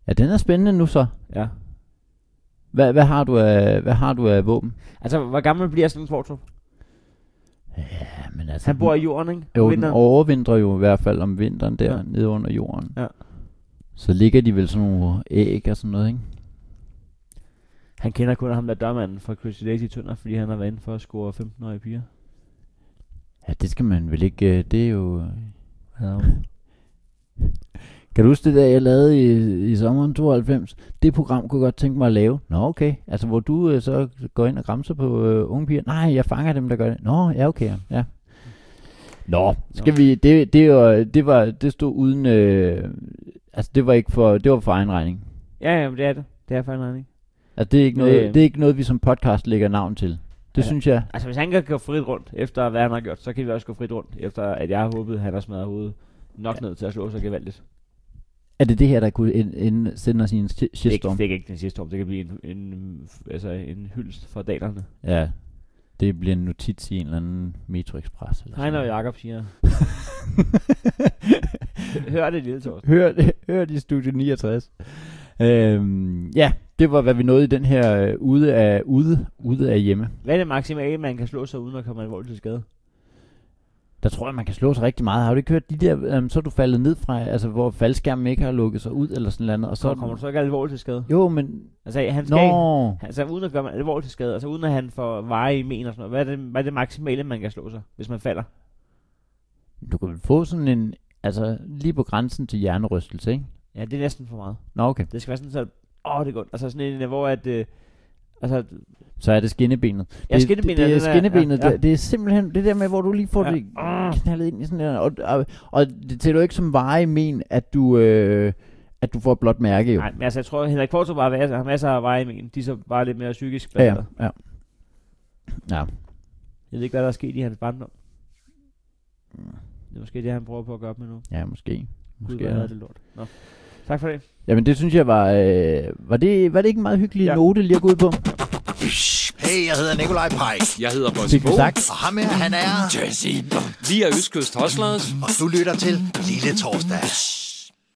[SPEAKER 2] Ja, den er spændende nu så.
[SPEAKER 3] Ja.
[SPEAKER 2] Hvad, hvad, har, du af, hvad har du af våben?
[SPEAKER 3] Altså, hvor gammel bliver sådan en Kvartrup?
[SPEAKER 2] Ja, men altså...
[SPEAKER 3] Han bor i jorden, ikke?
[SPEAKER 2] Jo,
[SPEAKER 3] Om
[SPEAKER 2] den
[SPEAKER 3] vinteren.
[SPEAKER 2] overvintrer jo i hvert fald om vinteren der, ja.
[SPEAKER 3] Ja.
[SPEAKER 2] nede under jorden.
[SPEAKER 3] Ja.
[SPEAKER 2] Så ligger de vel sådan nogle æg og sådan noget, ikke?
[SPEAKER 3] Han kender kun ham der dørmanden fra Crazy Daisy Tønder, fordi han har været inde for at score 15-årige piger.
[SPEAKER 2] Ja, det skal man vel ikke, øh, det er jo... Ja. kan du huske det der, jeg lavede i, i sommeren 92? Det program kunne jeg godt tænke mig at lave. Nå, okay. Altså, hvor du øh, så går ind og græmser på øh, unge piger. Nej, jeg fanger dem, der gør det. Nå, ja, okay. ja, Ja. Nå, skal vi... Det, det, var, det, var, det stod uden... Øh, altså, det var ikke for... Det var for egen regning.
[SPEAKER 3] Ja, ja, men det er det. Det er fandme han, ikke?
[SPEAKER 2] Altså, det er ikke
[SPEAKER 3] Men,
[SPEAKER 2] noget,
[SPEAKER 3] øh,
[SPEAKER 2] det er ikke noget vi som podcast lægger navn til. Det
[SPEAKER 3] Ja.
[SPEAKER 2] synes jeg.
[SPEAKER 3] Altså, hvis han kan gå frit rundt efter, hvad han har gjort, så kan vi også gå frit rundt efter, at jeg har håbet, at han har smadret hovedet nok ned til at slå sig gevaldigt.
[SPEAKER 2] Er det det her, der kunne ind, ind, sende os i en shi-
[SPEAKER 3] Det, er ikke-
[SPEAKER 2] shitstorm?
[SPEAKER 3] det er ikke den sidste storm. Det kan blive en, en, altså en hyldest for danerne.
[SPEAKER 2] Ja. Det bliver en notits i en eller anden Metro Express. Eller sådan
[SPEAKER 3] Heiner og
[SPEAKER 2] noget.
[SPEAKER 3] Jakob siger, hør det lille Torsten.
[SPEAKER 2] hør, det, hør det i Studio 69. Øhm, ja, det var, hvad vi nåede i den her øh, ude, af, ude, ude af hjemme.
[SPEAKER 3] Hvad er det maksimale, man kan slå sig uden at komme alvorligt til skade?
[SPEAKER 2] Der tror jeg, man kan slå sig rigtig meget. Har du ikke hørt de der, øhm, så er du faldet ned fra, altså hvor faldskærmen ikke har lukket sig ud, eller sådan noget, og så...
[SPEAKER 3] Så kommer du så ikke alvorligt til skade.
[SPEAKER 2] Jo, men...
[SPEAKER 3] Altså, han skal, ikke,
[SPEAKER 2] Nå,
[SPEAKER 3] Altså uden at gøre mig alvorligt til skade, altså uden at han får veje i men og sådan noget. Hvad er, det, hvad er det maksimale, man kan slå sig, hvis man falder?
[SPEAKER 2] du kan vel få sådan en... Altså, lige på grænsen til hjernerystelse, ikke?
[SPEAKER 3] Ja, det er næsten for meget.
[SPEAKER 2] Nå, okay.
[SPEAKER 3] Det skal være sådan, så åh, det er godt. Altså sådan en, hvor at, øh, altså,
[SPEAKER 2] Så er det skinnebenet.
[SPEAKER 3] Ja, skinnebenet
[SPEAKER 2] Det, det,
[SPEAKER 3] er
[SPEAKER 2] det er
[SPEAKER 3] den der-
[SPEAKER 2] skinnebenet.
[SPEAKER 3] ja,
[SPEAKER 2] Ja,
[SPEAKER 3] ja.
[SPEAKER 2] ja. Det, det er simpelthen det der med, hvor du lige får ja.
[SPEAKER 3] Ja.
[SPEAKER 2] det knaldet ind i sådan der. Og, og, og det tæller jo ikke som vare i men, at du, øh, at du får et blåt mærke jo.
[SPEAKER 3] nej, men altså, jeg tror, Henrik Kvartrup bare altså, har masser af veje i men. De er så bare lidt mere psykisk
[SPEAKER 2] ja, ja,
[SPEAKER 3] baseret.
[SPEAKER 2] ja.
[SPEAKER 3] Jeg ved ikke, hvad der er sket i hans barndom. Det er måske det, han prøver på at gøre op med nu.
[SPEAKER 2] Ja, måske.
[SPEAKER 3] Gud,
[SPEAKER 2] måske
[SPEAKER 3] hvad
[SPEAKER 2] er
[SPEAKER 3] havde
[SPEAKER 2] det.
[SPEAKER 3] det lort. Nå. Tak for det.
[SPEAKER 2] Jamen det synes jeg var... Øh, var, det, var det ikke en meget hyggelig ja.
[SPEAKER 3] Ja.
[SPEAKER 2] note lige at gå ud på?
[SPEAKER 4] Hey, jeg hedder Nikolaj Pej.
[SPEAKER 5] Jeg hedder Bossy
[SPEAKER 2] Fik vi
[SPEAKER 5] Bo.
[SPEAKER 2] sagt?
[SPEAKER 4] Og ham her, han er...
[SPEAKER 6] Jesse.
[SPEAKER 5] Vi er Østkyst Hoslers.
[SPEAKER 4] Og du lytter til Lille Torsdag.